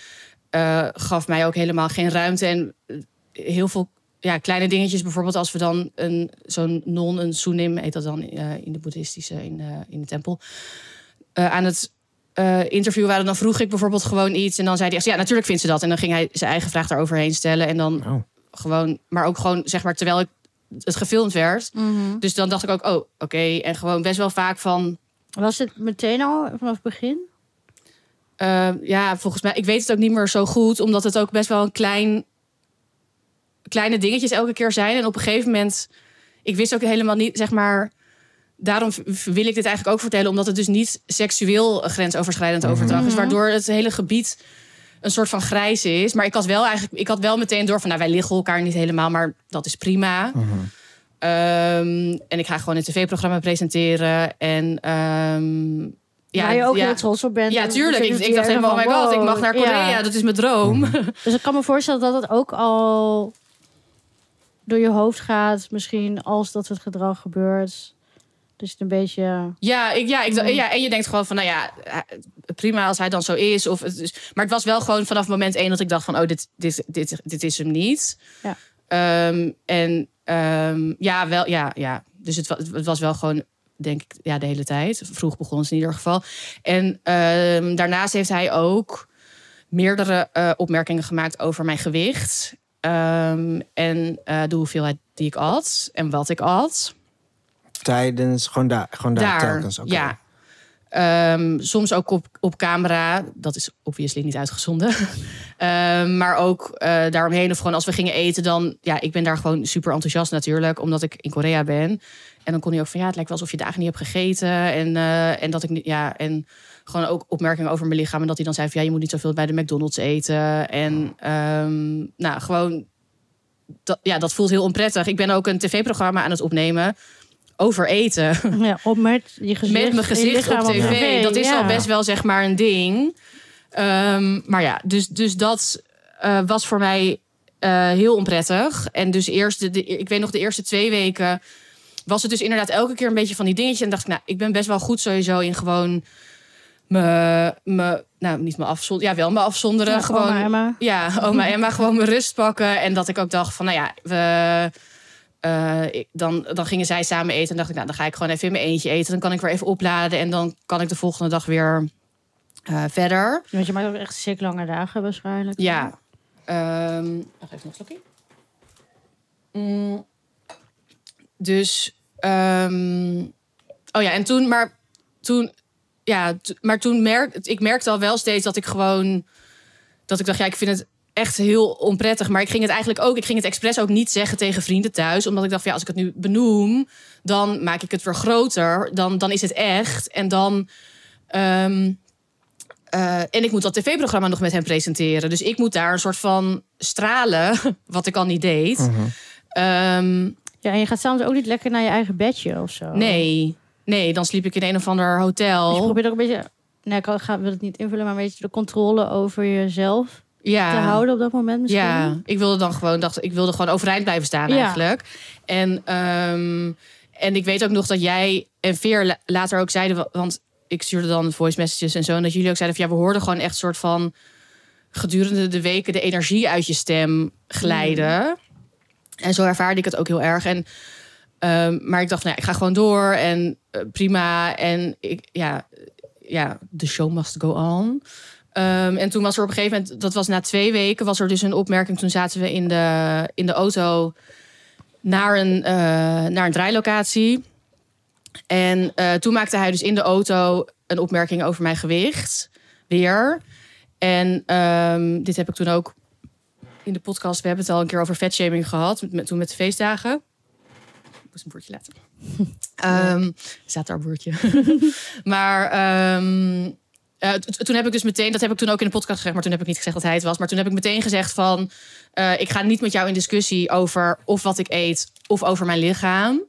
eh, gaf mij ook helemaal geen ruimte. En eh, heel veel ja, kleine dingetjes. Bijvoorbeeld als we dan een, zo'n non, een sunim, heet dat dan eh, in de boeddhistische, in, eh, in de tempel. eh, aan het eh, interview waren, dan vroeg ik bijvoorbeeld gewoon iets. En dan zei hij echt, ja, natuurlijk vindt ze dat. En dan ging hij zijn eigen vraag daaroverheen stellen. En dan Oh. gewoon, maar ook gewoon, zeg maar, terwijl ik het gefilmd werd. Mhm. Dus dan dacht ik ook, oh, oké. En gewoon best wel vaak van, Was het meteen al vanaf het begin? eh, ja, volgens mij, ik weet het ook niet meer zo goed, omdat het ook best wel een klein, kleine dingetjes elke keer zijn. En op een gegeven moment, ik wist ook helemaal niet, zeg maar, daarom v- v- wil ik dit eigenlijk ook vertellen, omdat het dus niet seksueel grensoverschrijdend overdracht is, Mhm. waardoor het hele gebied een soort van grijs is. Maar ik had wel eigenlijk, ik had wel meteen door van, nou, wij liggen elkaar niet helemaal, maar dat is prima. Ehm, en ik ga gewoon een tv-programma presenteren. En ehm, Ja, Waar je ook heel trots op bent. ja, En tuurlijk. Ik, natuurlijk ik dacht die helemaal, oh my van, god, ik wow. mag naar Korea. Ja. Dat is mijn droom. Dus ik kan me voorstellen dat het ook al door je hoofd gaat. Misschien als dat het gedrag gebeurt. Dus het een beetje... Ja, ik, ja, ik, dacht- ja, en je denkt gewoon van, nou ja, prima als hij dan zo is. Of het is maar het was wel gewoon vanaf moment één dat ik dacht van, oh, dit, dit, dit, dit is hem niet. Ja. Ehm, en ehm, ja, wel, ja, ja. Dus het, wa- het was wel gewoon, denk ik, ja, de hele tijd. Vroeg begon ze in ieder geval. En ehm, daarnaast heeft hij ook meerdere eh, opmerkingen gemaakt over mijn gewicht. Ehm, en eh, de hoeveelheid die ik at en wat ik at. Tijdens, gewoon daar, gewoon daar, Daar, telkens. Oké. ja. Ehm, soms ook op, op camera. Dat is obviously niet uitgezonden. Ehm, maar ook eh, daaromheen. Of gewoon als we gingen eten dan... Ja, ik ben daar gewoon super enthousiast natuurlijk. Omdat ik in Korea ben. En dan kon hij ook van... Ja, het lijkt wel alsof je dagen niet hebt gegeten. En, eh, en dat ik... niet- Ja, en gewoon ook opmerkingen over mijn lichaam. En dat hij dan zei van... Ja, je moet niet zoveel bij de McDonald's eten. En ehm, nou, gewoon... Dat, ja, dat voelt heel onprettig. Ik ben ook een tv-programma aan het opnemen over eten Ja, op met je gezicht. Hm. met mijn je gezicht lichaam op tv. Dat is ja. al best wel zeg maar een ding. Ehm, maar ja, dus, dus dat eh, was voor mij eh, heel onprettig. En dus eerst, de, de- ik weet nog de eerste twee weken... was het dus inderdaad elke keer een beetje van die dingetjes. En dacht ik, nou, ik ben best wel goed sowieso in gewoon... Me, me, nou, niet me afzonderen. Ja, wel me afzonderen. Ja, gewoon, oma Emma. ja, oma Emma gewoon mijn rust pakken. En dat ik ook dacht van, nou ja, we, eh, ik- dan, dan gingen zij samen eten. En dacht ik, nou, dan ga ik gewoon even in mijn eentje eten. Dan kan ik weer even opladen. En dan kan ik de volgende dag weer eh, verder. Want je maakt ook echt ziek lange dagen waarschijnlijk. Ja. Ehm nog even een slokje. Mm, dus, ehm, oh ja, en toen, maar toen, ja, t- maar toen merk ik merkte al wel steeds dat ik gewoon, dat ik dacht, ja, ik vind het echt heel onprettig. Maar ik ging het eigenlijk ook, ik ging het expres ook niet zeggen tegen vrienden thuis, omdat ik dacht, van, ja, als ik het nu benoem, dan maak ik het weer groter, dan, dan is het echt. En dan, ehm, eh, en ik moet dat tv-programma nog met hem presenteren. Dus ik moet daar een soort van stralen, wat ik al niet deed. Ehm, ja. En je gaat soms ook niet lekker naar je eigen bedje of zo. nee, nee, dan sliep ik in een of ander Dus je hotel. probeert ook een beetje... Nee, ik ga, wil het niet invullen, maar een beetje de controle over jezelf Ja. te houden op dat moment misschien. Ja, ik wilde dan gewoon, dacht, ik wilde gewoon overeind blijven staan Ja. eigenlijk. En, ehm, en ik weet ook nog dat jij en Veer la- later ook zeiden, wa- want ik stuurde dan voice messages en zo, en dat jullie ook zeiden van ja, we hoorden gewoon echt soort van gedurende de weken de energie uit je stem glijden. Mm. En zo ervaarde ik het ook heel erg. En, ehm, maar ik dacht, nou, ja, ik ga gewoon door en eh, prima. En ik, ja, ja, the show must go on. Ehm, en toen was er op een gegeven moment, dat was na twee weken, was er dus een opmerking. Toen zaten we in de, in de auto naar een, eh, naar een draailocatie. En eh, toen maakte hij dus in de auto een opmerking over mijn gewicht. Weer. En ehm, dit heb ik toen ook in de podcast. We hebben het al een keer over vetshaming gehad. Met, toen met de feestdagen. Ik moest een boertje laten. Ehm staat daar een boertje. maar ehm, eh, t- toen heb ik dus meteen, dat heb ik toen ook in de podcast gezegd, maar toen heb ik niet gezegd dat hij het was. Maar toen heb ik meteen gezegd van, eh, ik ga niet met jou in discussie over of wat ik eet of over mijn lichaam.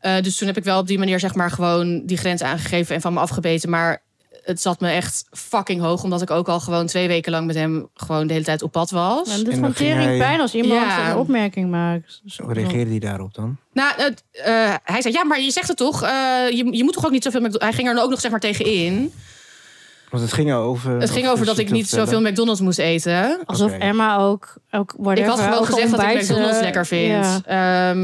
Eh, dus toen heb ik wel op die manier zeg maar gewoon die grens aangegeven en van me afgebeten. Maar het zat me echt fucking hoog, omdat ik ook al gewoon twee weken lang met hem gewoon de hele tijd op pad was. En dit En is dan van ging tering hij- pijn als iemand Ja. een opmerking maakt. Dus- Hoe reageerde hij daarop dan? Nou, het, eh, hij zei, ja, maar je zegt het toch? eh, je, je moet toch ook niet zoveel... McDo-" Hij ging er dan ook nog zeg maar tegen in. Want het ging over... Het ging over dat ik niet zoveel McDonald's moest eten. Alsof Oké. Emma ook, ook whatever, ik had gewoon ook gezegd dat ik ontbijt, McDonald's eh, lekker vind. ja. Ja.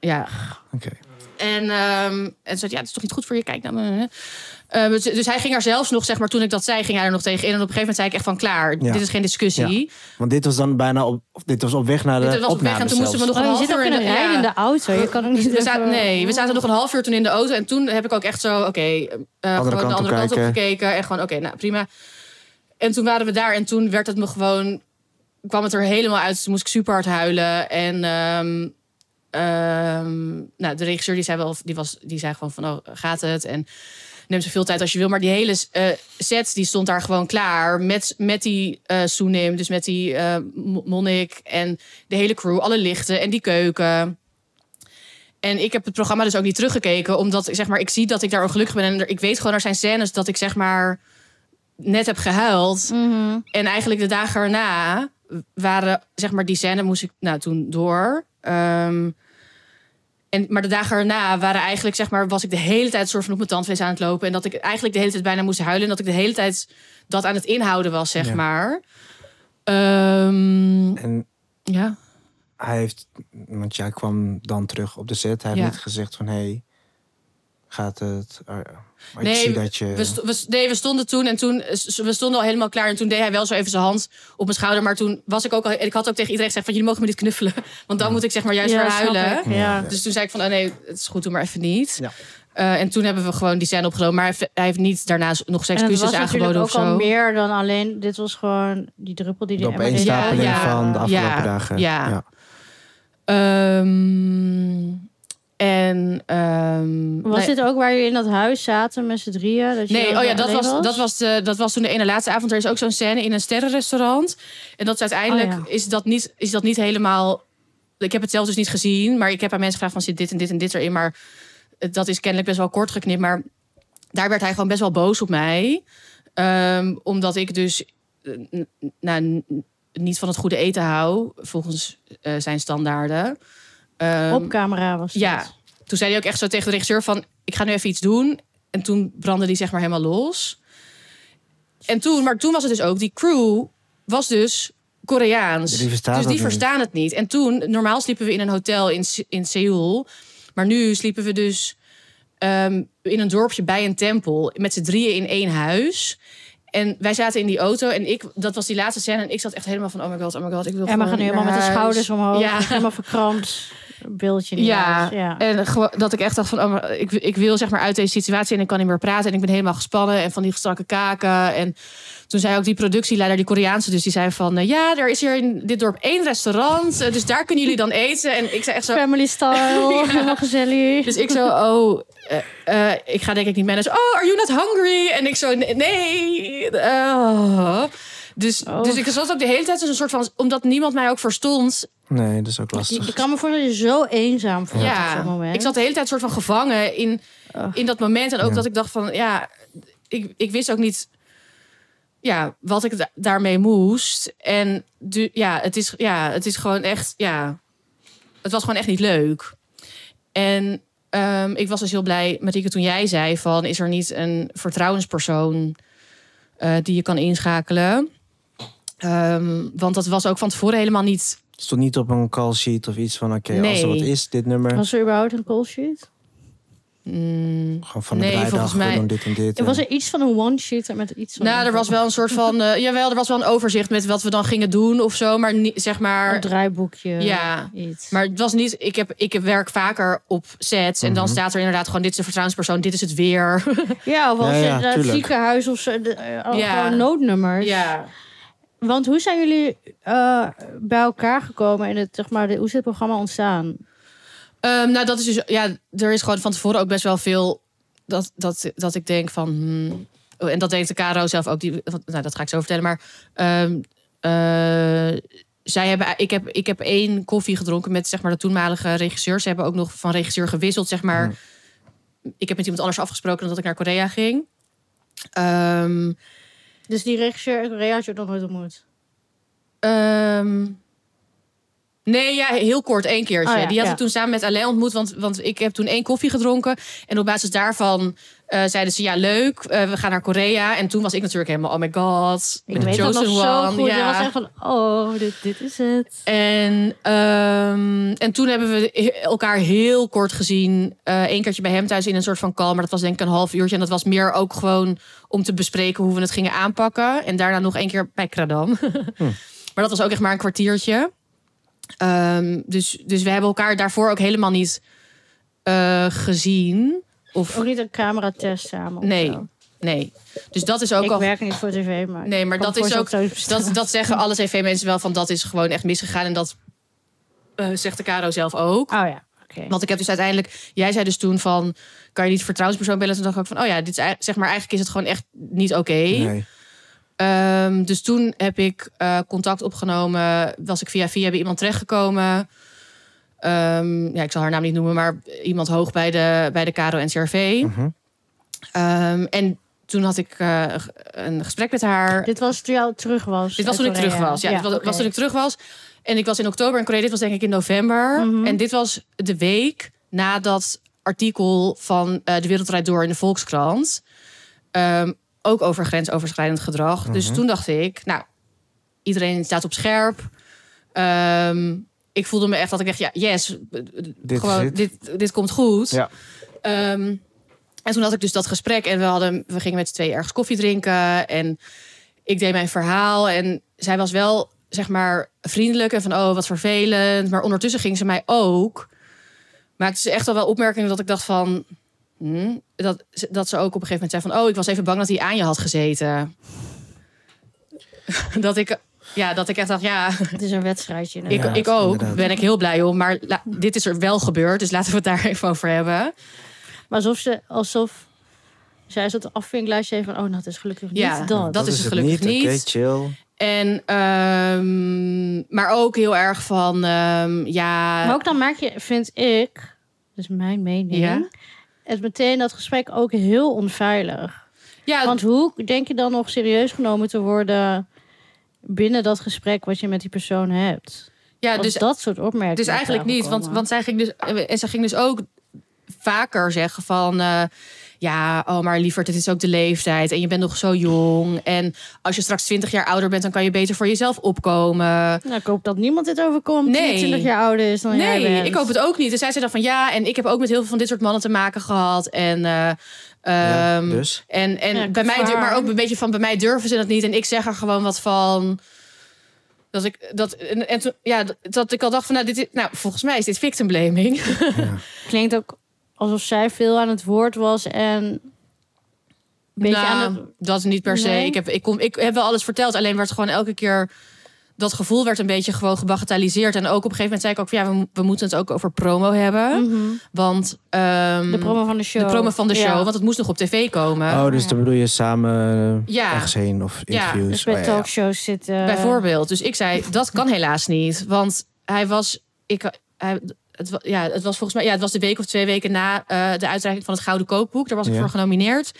ja. Oké. En, ehm, en ze zei, ja, dat is toch niet goed voor je, kijk naar me. Ehm, dus, dus hij ging er zelfs nog, zeg maar, toen ik dat zei, ging hij er nog tegen in. En op een gegeven moment zei ik echt van, klaar, Ja. dit is geen discussie. Want dit was dan bijna op... of dit was op weg naar de Dit was op weg en opname toen moesten we zelfs. nog een Oh, half je zit ook uur in een ja. rijdende auto. Je kan ook niet We zaten, even- nee, we zaten nog een half uur toen in de auto. En toen heb ik ook echt zo, oké, eh, gewoon kant de op andere kant op kijken. gekeken. En gewoon, oké, nou prima. En toen waren we daar en toen werd het me gewoon, kwam het er helemaal uit. Toen moest ik super hard huilen. En ehm, ehm, nou, de regisseur die zei, wel, die, was, die zei gewoon van, oh, gaat het? En neem zoveel tijd als je wil. Maar die hele eh, set die stond daar gewoon klaar. Met, met die eh Soenim, dus met die eh, Mo- Monnik en de hele crew. Alle lichten en die keuken. En ik heb het programma dus ook niet teruggekeken. Omdat ik zeg maar, ik zie dat ik daar ongelukkig ben. En er- ik weet gewoon, er zijn scènes dat ik zeg maar net heb gehuild. Mhm. En eigenlijk de dagen erna waren, zeg maar, die scène moest ik nou toen door. Ehm, en, maar de dagen erna waren eigenlijk, zeg maar, was ik de hele tijd soort van op mijn tandvlees aan het lopen. En dat ik eigenlijk de hele tijd bijna moest huilen. En dat ik de hele tijd dat aan het inhouden was, zeg Ja. maar. Ehm, En ja. hij heeft... Want jij kwam dan terug op de set. Hij heeft Ja. niet gezegd van... Hey, gaat het... eh, maar Nee, ik zie dat je... We, sto- we, st- nee, we stonden toen en toen eh, s- we stonden al helemaal klaar. En toen deed hij wel zo even zijn hand op mijn schouder. Maar toen was ik ook al. Ik had ook tegen iedereen gezegd: van jullie mogen me niet knuffelen. Want dan moet ik zeg maar juist Ja, weer snap huilen. ik, Ja. Dus toen zei ik van, oh nee, het is goed, doe maar even niet. Ja. Eh, en toen hebben we gewoon die scène opgenomen. Maar hij heeft, hij heeft niet daarna nog zijn En het excuses was natuurlijk aangeboden ook of zo. al meer dan alleen... Dit was gewoon die druppel die... De die Emma deed. opeenstapeling Ja, ja. van de afgelopen Ja, dagen. ja. Ehm, en ehm, Was nee. dit ook waar jullie in dat huis zaten met z'n drieën? Dat je Nee, dan eh, oh ja, dat alleen was, dat, was de, dat was toen de ene laatste avond. Er is ook zo'n scène in een sterrenrestaurant. En dat is uiteindelijk Oh is, dat niet, is dat niet helemaal. Ik heb het zelf dus niet gezien, maar ik heb aan mensen gevraagd: van zit dit en dit en dit erin? Maar eh, dat is kennelijk best wel kort geknipt. Maar daar werd hij gewoon best wel boos op mij. Ehm, omdat ik dus eh, n- n- nou, n- niet van het goede eten hou, volgens eh, zijn standaarden. Ehm, Op camera was dat. ja. toen zei hij ook echt zo tegen de regisseur van... ik ga nu even iets doen. En toen brandde die zeg maar helemaal los. En toen, maar toen was het dus ook... die crew was dus Koreaans. Die verstaan dus dat die niet. verstaan het niet. En toen, normaal sliepen we in een hotel in, Se- in Seoul. Maar nu sliepen we dus ehm, in een dorpje bij een tempel. Met z'n drieën in één huis. En wij zaten in die auto en ik, dat was die laatste scène. En ik zat echt helemaal van, oh my god, oh my god, ik wil Emma gewoon gaat nu helemaal naar met de huis. schouders omhoog. Ja. Helemaal verkrampt. Beeldje in die Ja. Eh, huis, ja. En gewo- dat ik echt dacht van, oh, maar ik, ik wil zeg maar uit deze situatie en ik kan niet meer praten. En ik ben helemaal gespannen en van die strakke kaken. En toen zei ook die productieleider, die Koreaanse dus, die zei van... eh, ja, er is hier in dit dorp één restaurant, eh, dus daar kunnen jullie dan eten. En ik zei echt zo... Family style, helemaal gezellig. Dus ik zo, oh, eh, eh, ik ga denk ik niet mee. En hij zo, oh, are you not hungry? En ik zo, nee. nee, eh." dus, Oh. dus ik zat ook de hele tijd als een soort van... Omdat niemand mij ook verstond, Nee, dat is ook Je- lastig. Ik kan me voorstellen dat je zo eenzaam voelt op Ja, dat moment. ik zat de hele tijd soort van gevangen in, Ugh. in dat moment. En ook Ja. dat ik dacht van, ja, ik, ik wist ook niet ja, wat ik da- daarmee moest. En du- ja, het is, ja, het is gewoon echt, ja, het was gewoon echt niet leuk. En ehm, ik was dus heel blij, Marieke, toen jij zei van... is er niet een vertrouwenspersoon eh, die je kan inschakelen? Ehm, want dat was ook van tevoren helemaal niet... Het stond niet op een call sheet of iets van... Oké, als Nee. er wat is, dit nummer. Was er überhaupt een call sheet? Mm, Gewoon van Nee, een volgens rijdag, mij- we doen dit en dit. Er was en- er iets van een one-sheeter met iets van... nou, er was wel een soort van. eh, jawel, er was wel een overzicht met wat we dan gingen doen of zo. Maar niet, zeg Een maar. draaiboekje. Ja. Iets. Maar het was niet. Ik, heb, ik werk vaker op sets. En dan staat er inderdaad gewoon: dit is de vertrouwenspersoon, dit is het weer. ja, of als Ja, je ja, naar het tuurlijk. ziekenhuis of zo. de- eh, Ja. Gewoon noodnummers. Want hoe zijn jullie eh, bij elkaar gekomen en het, zeg maar, de, hoe is het programma ontstaan? Ehm, nou, dat is dus. Ja, er is gewoon van tevoren ook best wel veel dat, dat, dat ik denk van. hmm, oh, en dat deed de KRO zelf ook. Die, want, nou, dat ga ik zo vertellen. Maar ehm, eh, zij hebben, ik, heb, ik heb één koffie gedronken met zeg maar, de toenmalige regisseur. Ze hebben ook nog van regisseur gewisseld. Zeg maar. Ik heb met iemand anders afgesproken dan dat ik naar Korea ging. Ehm, Dus die regisseur en Korea had je ook nog nooit ontmoet. Ehm, nee, ja, heel kort, één keertje. Oh ja, die had ja. ik toen samen met Alain ontmoet, want, want ik heb toen één koffie gedronken. En op basis daarvan eh, zeiden ze, ja, leuk, eh, we gaan naar Korea. En toen was ik natuurlijk helemaal, oh my god, Ik ben de weet dat nog chosen zo one, goed. ja. Ik was echt van, oh, dit, dit is het. En, ehm, en toen hebben we he- elkaar heel kort gezien. Eén keertje bij hem thuis in een soort van kalm. Maar dat was denk ik een half uurtje. En dat was meer ook gewoon om te bespreken hoe we het gingen aanpakken. En daarna nog één keer bij Kradam. Maar dat was ook echt maar een kwartiertje. Ehm, dus, dus we hebben elkaar daarvoor ook helemaal niet eh, gezien. Of Ook niet een cameratest samen. of Nee, zo. nee. Dus dat is ook ik al werk niet voor tv, maar... Nee, maar ik kan dat is voor ook- zo'n thuis- dat, dat zeggen alle tv-mensen wel van dat is gewoon echt misgegaan. En dat eh, zegt de Caro zelf ook. Oh ja, oké. Want ik heb dus uiteindelijk, jij zei dus toen van, kan je niet vertrouwenspersoon bellen? Toen dacht ik ook van, oh ja, dit is, eigenlijk- zeg maar, eigenlijk is het gewoon echt niet oké. Nee. Ehm, dus toen heb ik eh, contact opgenomen. Was ik via via bij iemand terechtgekomen. Ehm, ja, ik zal haar naam niet noemen, maar iemand hoog bij de, bij de Caro NCRV. Mhm. Ehm, en toen had ik eh, een gesprek met haar. Dit was toen je terug was. Dit was uit toen ik terug Korea. was. Ja, dit was, oké. was toen ik terug was. En ik was in oktober in Korea. Dit was denk ik in november. Mhm. En dit was de week na dat artikel van eh, De Wereld Draait Door in de Volkskrant. Ehm, ook over grensoverschrijdend gedrag. Mhm. Dus toen dacht ik, nou, iedereen staat op scherp. Ehm, ik voelde me echt dat ik echt, ja, yes. Dit is gewoon, het. dit, dit komt goed. Ja. Ehm, en toen had ik dus dat gesprek en we, hadden, we gingen met z'n tweeën ergens koffie drinken. En ik deed mijn verhaal. En zij was wel, zeg maar, vriendelijk en van, oh, wat vervelend. Maar ondertussen ging ze mij ook. Maakte ze echt al wel opmerkingen dat ik dacht van... hmm, dat, ze- dat ze ook op een gegeven moment zei van... oh, ik was even bang dat hij aan je had gezeten. dat ik... Ja, dat ik echt dacht, ja, Het is een wedstrijdje. ik, inderdaad. Ja, ik ook. inderdaad. Ben ik heel blij om. Maar la- dit is er wel gebeurd, dus laten we het daar even over hebben. Maar alsof ze... Alsof zij zo'n afvinklijstje heeft van... Oh, nou, het is gelukkig Ja, niet dat. dat- is het gelukkig Oké, niet. chill. En, ehm, maar ook heel erg van, ehm, ja... Maar ook dan maak je, vind ik... Dus mijn mening... Ja. Is meteen dat gesprek ook heel onveilig. ja, Want hoe denk je dan nog serieus genomen te worden binnen dat gesprek wat je met die persoon hebt? ja, Als dus, dat soort opmerkingen. dus eigenlijk daarvan niet. Want, komen. want zij ging dus, en zij ging dus ook vaker zeggen van... eh, ja, oh, maar lieverd, het is ook de leeftijd. En je bent nog zo jong. En als je straks 20 jaar ouder bent, dan kan je beter voor jezelf opkomen. Nou, ik hoop dat niemand dit overkomt Nee. die 20 jaar ouder is dan jij Nee, bent. ik hoop het ook niet. En zij zei dan van ja, en ik heb ook met heel veel van dit soort mannen te maken gehad. En, eh, Ja, ehm, dus? en, en Ja, bij kut mij, voor dur- maar haar. ook een beetje van bij mij durven ze dat niet. En ik zeg er gewoon wat van. Dat ik dat en, en toen- ja, dat, dat ik al dacht van nou, dit is, nou, volgens mij is dit victim blaming. Klinkt ook alsof zij veel aan het woord was en een beetje Nou, aan het... dat niet per se. Nee? Ik, heb, ik, kom, ik heb wel alles verteld, alleen werd gewoon elke keer dat gevoel werd een beetje gewoon gebagatelliseerd. En ook op een gegeven moment zei ik ook van ja, we, mo- we moeten het ook over promo hebben. Mhm. Want ehm, De promo van de show. De promo van de show, Ja. want het moest nog op tv komen. oh, dus ja. dan bedoel je samen eh, eh, Ja. ergens heen of Ja, interviews. Dus bij Oh, ja, ja. talkshows zitten. Bijvoorbeeld. Dus ik zei, dat kan helaas niet. Want hij was. Ik, hij, het, wa- ja, het was volgens mij. Ja, het was de week of twee weken na eh, de uitreiking van het Gouden Kookboek. Daar was ik Ja. voor genomineerd.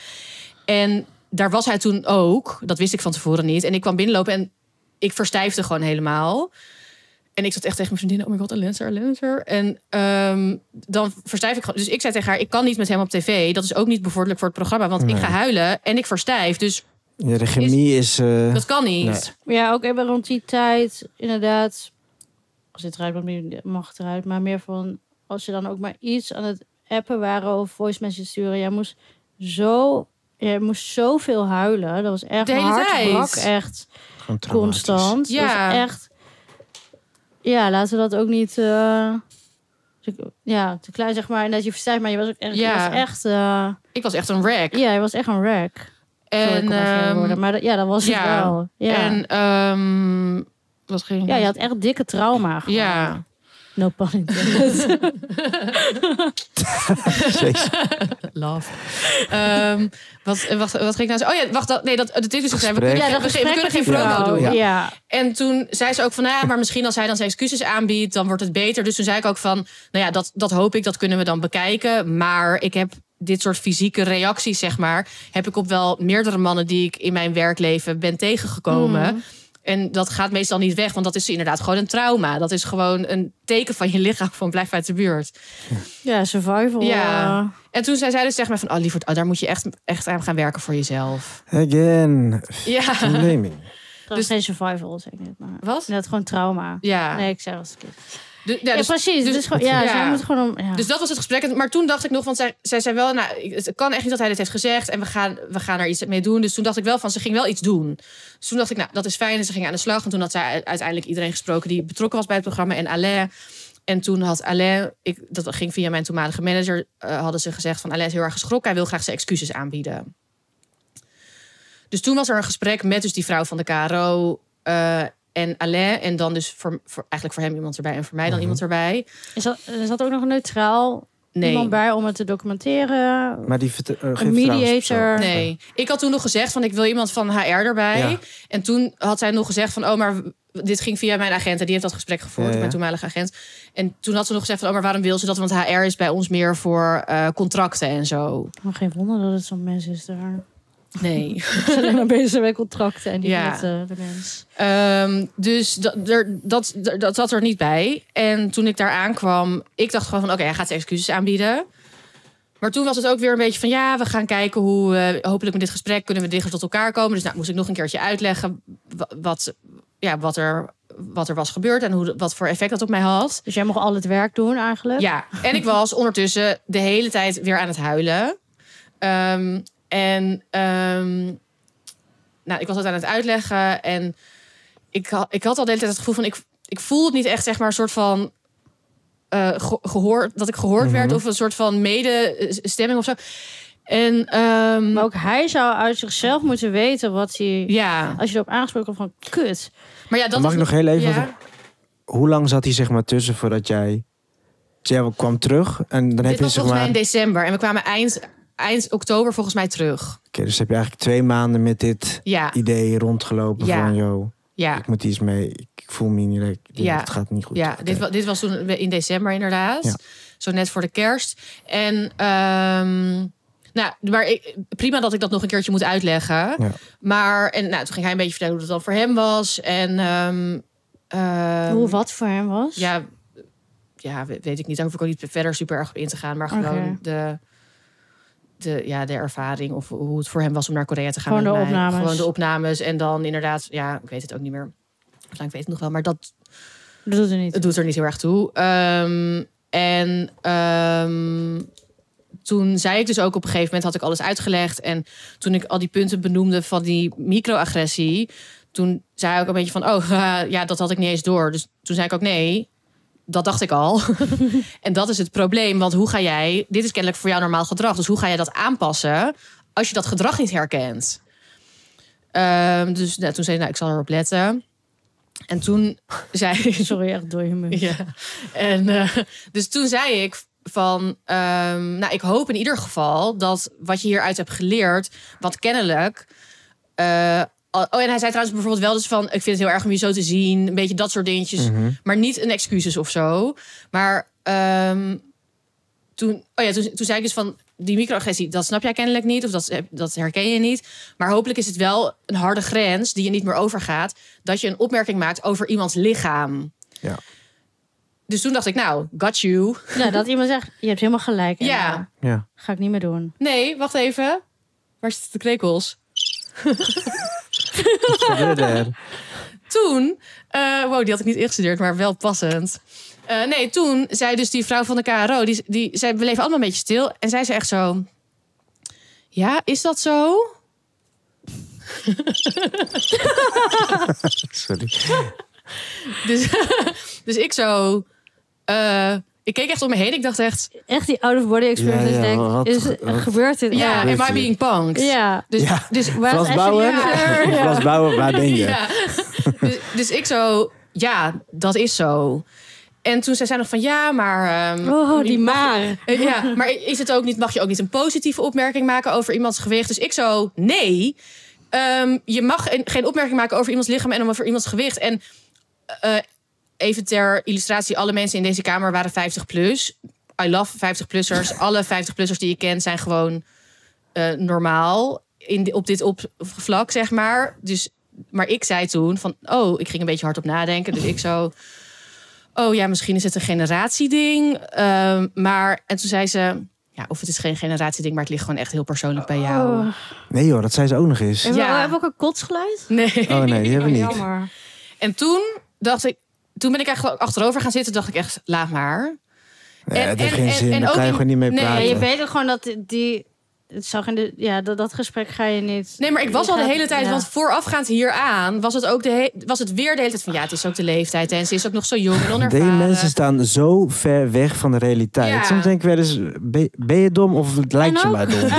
En daar was hij toen ook. Dat wist ik van tevoren niet. En ik kwam binnenlopen en ik verstijfde gewoon helemaal. En ik zat echt tegen mijn vriendin, oh my god, een lenser, een lenser. En ehm, dan verstijf ik gewoon. Dus ik zei tegen haar, ik kan niet met hem op tv. Dat is ook niet bevorderlijk voor het programma. Want ik Nee. ga huilen en ik verstijf. Dus Ja, de chemie is... eh, dat kan niet. Nee. Ja, ook even rond die tijd, inderdaad. Als dit eruit mag, mag het eruit. Maar meer van, als je dan ook maar iets aan het appen waren of voice messages sturen. Jij moest zo... Jij moest zoveel huilen. Dat was echt De hele hard. tijd. brak echt Gewoon traumatisch. constant. Ja. Ja. echt. Ja, laten we dat ook niet. eh, te- ja, te klein zeg maar. En dat je verstijft, maar je was ook echt. Ja. Je was echt eh, Ik was echt een wreck. ja, je was echt een wreck. Sorry, ik en, kom even geen ehm, woorden, maar dat- ja, dat was ja. het wel. Ja. en ehm, wat ging ja, je had echt dikke trauma. gewoon. Ja. No pun intended. Jezus. Love. Ehm, wat, wat, wat ging ik nou zeggen? Oh ja, wacht. Dat, nee, dat, dat is dus gezegd. We Gesprek. kunnen, ja, dat we, we kunnen geen gesprek met die promo vrouw. doen. Ja. Ja. En toen zei ze ook van, nou ja, maar misschien als hij dan zijn excuses aanbiedt, dan wordt het beter. Dus toen zei ik ook van, nou ja, dat, dat hoop ik, dat kunnen we dan bekijken. Maar ik heb dit soort fysieke reacties, zeg maar, heb ik op wel meerdere mannen die ik in mijn werkleven ben tegengekomen. En dat gaat meestal niet weg, want dat is inderdaad gewoon een trauma. Dat is gewoon een teken van je lichaam van blijf uit de buurt. Ja, survival. Ja. eh, En toen zei zij dus tegen mij van, oh lieverd, oh, daar moet je echt, echt aan gaan werken voor jezelf. Again. Ja. Flaming. dat Dus- is geen survival, zeg ik net maar. Wat? Dat gewoon trauma. Ja. Nee, ik zei dat verkeerd. Du- Ja, ja, dus precies. dus- Dus, gewoon, ja, Ja. zij moet gewoon om. Ja. Dus dat was het gesprek. En- Maar toen dacht ik nog, want zij, zij zei wel, nou, ik- het kan echt niet dat hij dit heeft gezegd en we gaan, we gaan er iets mee doen. Dus toen dacht ik wel van, ze ging wel iets doen. Dus toen dacht ik, nou, dat is fijn. En ze ging aan de slag. En toen had zij u- uiteindelijk iedereen gesproken die betrokken was bij het programma en Alain. En toen had Alain, ik, dat ging via mijn toenmalige manager, eh, hadden ze gezegd van Alain is heel erg geschrokken. Hij wil graag zijn excuses aanbieden. Dus toen was er een gesprek met dus die vrouw van de KRO eh, en Alain. En dan dus voor, voor, eigenlijk voor hem iemand erbij en voor mij dan Mhm. iemand erbij. Is dat, is dat ook nog neutraal Nee. iemand bij om het te documenteren. Maar die verte- eh, geen Een mediator. Nee, ik had toen nog gezegd van ik wil iemand van HR erbij. Ja. En toen had zij nog gezegd van oh maar w- dit ging via mijn agent en die heeft dat gesprek gevoerd, Ja, ja. mijn toenmalige agent. En toen had ze nog gezegd van oh maar waarom wil ze dat? Want HR is bij ons meer voor eh, contracten en zo. Maar geen wonder dat het zo'n mens is daar. Nee. Ze zijn alleen maar bezig met contracten en niet Ja. met eh, de mens. Ehm, dus dat, er, dat, er- dat zat er niet bij. En toen ik daar aankwam, ik dacht gewoon van... oké, hij gaat zijn excuses aanbieden. Maar toen was het ook weer een beetje van... ja, we gaan kijken hoe... eh, hopelijk met dit gesprek kunnen we dichter tot elkaar komen. Dus nou, moest ik nog een keertje uitleggen... wa- wat, ja, wat, er, wat er was gebeurd en hoe, de- wat voor effect dat op mij had. Dus jij mocht al het werk doen eigenlijk. Ja, en ik was ondertussen de hele tijd weer aan het huilen. Ehm, en ehm, nou, ik was dat aan het uitleggen. En ik, ha- ik had al de hele tijd het gevoel van... Ik, ik voel het niet echt, zeg maar, een soort van... eh, ge- gehoord, dat ik gehoord Mhm. werd of een soort van medestemming of zo. En ehm, Maar ook hij zou uit zichzelf moeten weten wat hij... ja, Als je erop aangesproken wordt van kut. maar ja, dat Mag is ik nog heel even... ja. Hoe lang zat hij zeg maar tussen voordat jij... Jij kwam terug en dan heb Dit je was zeg volgens mij maar... in december en we kwamen eind, eind oktober volgens mij terug. Oké, dus heb je eigenlijk twee maanden met dit Ja, idee rondgelopen Ja. van... joh, ja. ik moet iets mee. Ik, ik voel me niet lekker. Dit- Ja. Het gaat niet goed. Ja, Oké. dit, wa- dit was toen in december inderdaad. Ja. Zo net voor de kerst. En ehm, nou, maar ik, prima dat ik dat nog een keertje moet uitleggen. Ja. Maar en, nou, toen ging hij een beetje vertellen hoe dat dan voor hem was. En ehm, ehm, Hoe wat voor hem was. ja, ja, we- weet ik niet. Daar hoef ik ook niet verder super erg op in te gaan. Maar gewoon Oké. de, de, ja, de ervaring of hoe het voor hem was om naar Korea te gaan. Gewoon met mij. de opnames. Gewoon de opnames. En dan inderdaad, ja, ik weet het ook niet meer. Of nou, ik weet het nog wel, maar dat, Dat doet hij niet. het doet er niet heel erg toe. Ehm, en ehm, toen zei ik dus ook op een gegeven moment had ik alles uitgelegd. En toen ik al die punten benoemde van die microagressie, toen zei hij ook een beetje van, oh haha, ja, dat had ik niet eens door. Dus toen zei ik ook nee. Dat dacht ik al. en dat is het probleem. Want hoe ga jij. Dit is kennelijk voor jou normaal gedrag. Dus hoe ga jij dat aanpassen. als je dat gedrag niet herkent? Ehm, dus nou, toen zei hij, nou, ik zal erop letten. En toen zei, Sorry, echt door je muur. ja. En, eh, dus toen zei ik van, ehm, nou, ik hoop in ieder geval dat wat je hieruit hebt geleerd, wat kennelijk. eh, al- oh, en hij zei trouwens bijvoorbeeld wel dus van, ik vind het heel erg om je zo te zien, een beetje dat soort dingetjes, maar niet een excuses of zo. Maar ehm, toen, oh ja, toen, toen zei ik dus van die microagressie, dat snap jij kennelijk niet of dat, dat herken je niet. Maar hopelijk is het wel een harde grens die je niet meer overgaat, dat je een opmerking maakt over iemands lichaam. Ja. Dus toen dacht ik, nou, got you. Ja, Nou, dat iemand zegt, je hebt helemaal gelijk. Emma. Ja. ja. Ga ik niet meer doen. Nee, wacht even. Waar zitten de krekels? Wat gebeurde er? toen, eh, wow, die had ik niet ingestudeerd, maar wel passend. Eh, nee, toen zei dus die vrouw van de KRO, die, die zei, we leven allemaal een beetje stil. En zij zei echt zo, ja, is dat zo? Sorry. Dus, dus ik zo, eh, ik keek echt om me heen. Ik dacht echt, Echt die out-of-body experience. Ja, dat ja, je denkt, wat- is, wat- gebeurt dit? ja, echt? am I being punked? ja. Dus, Ja. dus Waar is Frans Ashley? Bauer? Ja. Frans Bauer, waar ben je? Ja. Dus, dus ik zo, ja, dat is zo. En toen zei zij nog van, ja, maar... ehm, Oh, die mag- maar. Eh, Ja, maar is het ook niet, mag je ook niet een positieve opmerking maken over iemands gewicht? Dus ik zo, nee. Ehm, je mag een- geen opmerking maken over iemands lichaam en over iemands gewicht. En eh, even ter illustratie, alle mensen in deze kamer waren 50 plus. I love 50-plussers. Alle 50-plussers die ik ken zijn gewoon eh, normaal in, di- op dit op, vlak, zeg maar. Dus, maar ik zei toen van, oh, ik ging een beetje hardop nadenken. Dus ik zo, oh ja, misschien is het een generatieding. Ehm, maar, en toen zei ze, ja, of het is geen generatieding, maar het ligt gewoon echt heel persoonlijk bij jou. Oh. Nee joh, dat zei ze ook nog eens. Hebben Ja. we hebben we ook een kotsgeluid? Nee. Oh nee, die hebben we niet. Jammer. En toen dacht ik, toen ben ik eigenlijk achterover gaan zitten, dacht ik echt, laat maar. Nee, En- het heeft en- geen en- zin, en daar ook kan je in- gewoon niet mee nee, Ja, praten. je weet ook gewoon dat die... Het zag in de, ja, dat, dat gesprek ga je niet... Nee, maar ik was Je al de gaat- hele tijd, ja. want voorafgaand hieraan was het, ook de he- was het weer de hele tijd van ja, het is ook de leeftijd en ze is ook nog zo jong en Deze onervaren. mensen staan zo ver weg van de realiteit. Ja. Soms denk ik wel eens, ben, ben je dom of het lijkt je ook- maar dom?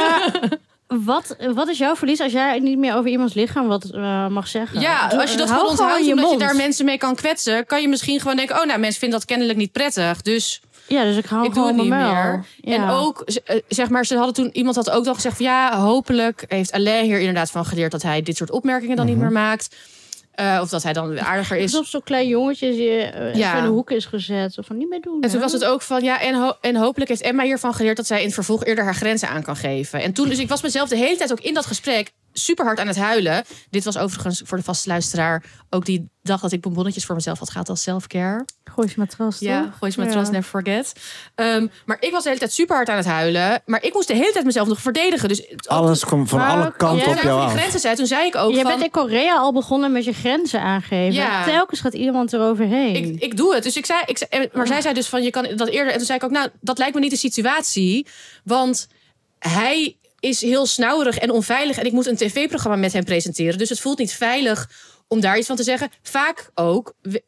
Wat, wat is jouw verlies als jij niet meer over iemands lichaam wat eh, mag zeggen? Ja, Doe- als je dat hou gewoon onthoudt je omdat je mond. daar mensen mee kan kwetsen, kan je misschien gewoon denken, oh nou, mensen vinden dat kennelijk niet prettig, dus Ja, dus ik hou ik doe gewoon het niet mijn muil. meer. Ja. En ook, z- eh, zeg maar, ze hadden toen, iemand had ook dan gezegd van ja, hopelijk heeft Alain hier inderdaad van geleerd dat hij dit soort opmerkingen dan niet meer maakt. Eh, of dat hij dan weer aardiger is. Alsof zo'n klein jongetje die, eh, Ja. even in de hoek is gezet. Of van, niet meer doen. En toen hè? was het ook van, ja, en, ho- en hopelijk heeft Emma hiervan geleerd dat zij in het vervolg eerder haar grenzen aan kan geven. En toen, dus ik was mezelf de hele tijd ook in dat gesprek super hard aan het huilen. Dit was overigens voor de vaste luisteraar ook die dag dat ik bonbonnetjes voor mezelf had gehad als self-care. Gooi je matras, Ja, toch? gooi ze met trust, Ja. never forget. Ehm, maar ik was de hele tijd super hard aan het huilen. Maar toen- Maar ook toen- ja, toen zei ik van, ja, maar ik moest de hele tijd mezelf nog verdedigen. Dus het- ook Alles komt van Maar alle ook- kanten jij op jou die af. grenzen zei, toen zei ik ook Je van, bent in Korea al begonnen met je grenzen aangeven. Ja. Telkens gaat iemand eroverheen. ik, ik doe het. Dus ik zei, ik zei- en- maar zij zei dus van je kan dat eerder. En toen zei ik ook, nou, dat lijkt me niet de situatie. Want hij is heel snauwerig en onveilig. En ik moet een tv-programma met hem presenteren. Dus het voelt niet veilig om daar iets van te zeggen. Vaak ook we-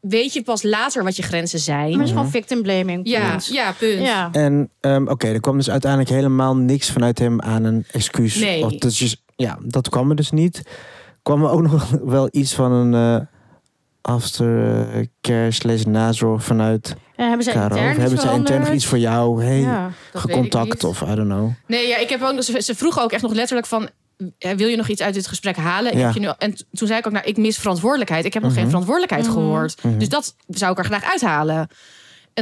weet je pas later wat je grenzen maar het zijn. is gewoon victim blaming. Ja, dus- punt. ja, punt. ja. En ehm, oké, er kwam dus uiteindelijk helemaal niks vanuit hem aan een excuus. Nee. Of dat is dus, ja, dat kwam er dus niet. Kwam er ook nog wel iets van een eh, aftercare slash nazorg vanuit En hebben ze Caro? Of intern iets hebben ze intern nog veranderd? iets voor jou? Hey, Ja. Dat weet ik gecontact niet. of I don't know. Nee, ja, ik heb ook, ze, ze vroegen ook echt nog letterlijk van... eh, Wil je nog iets uit dit gesprek halen? Ja. Mhm. Heb je nu, en t- toen zei ik ook, nou, ik mis verantwoordelijkheid. Ik heb nog geen Mhm. verantwoordelijkheid gehoord. Dus dat zou ik er graag uithalen. En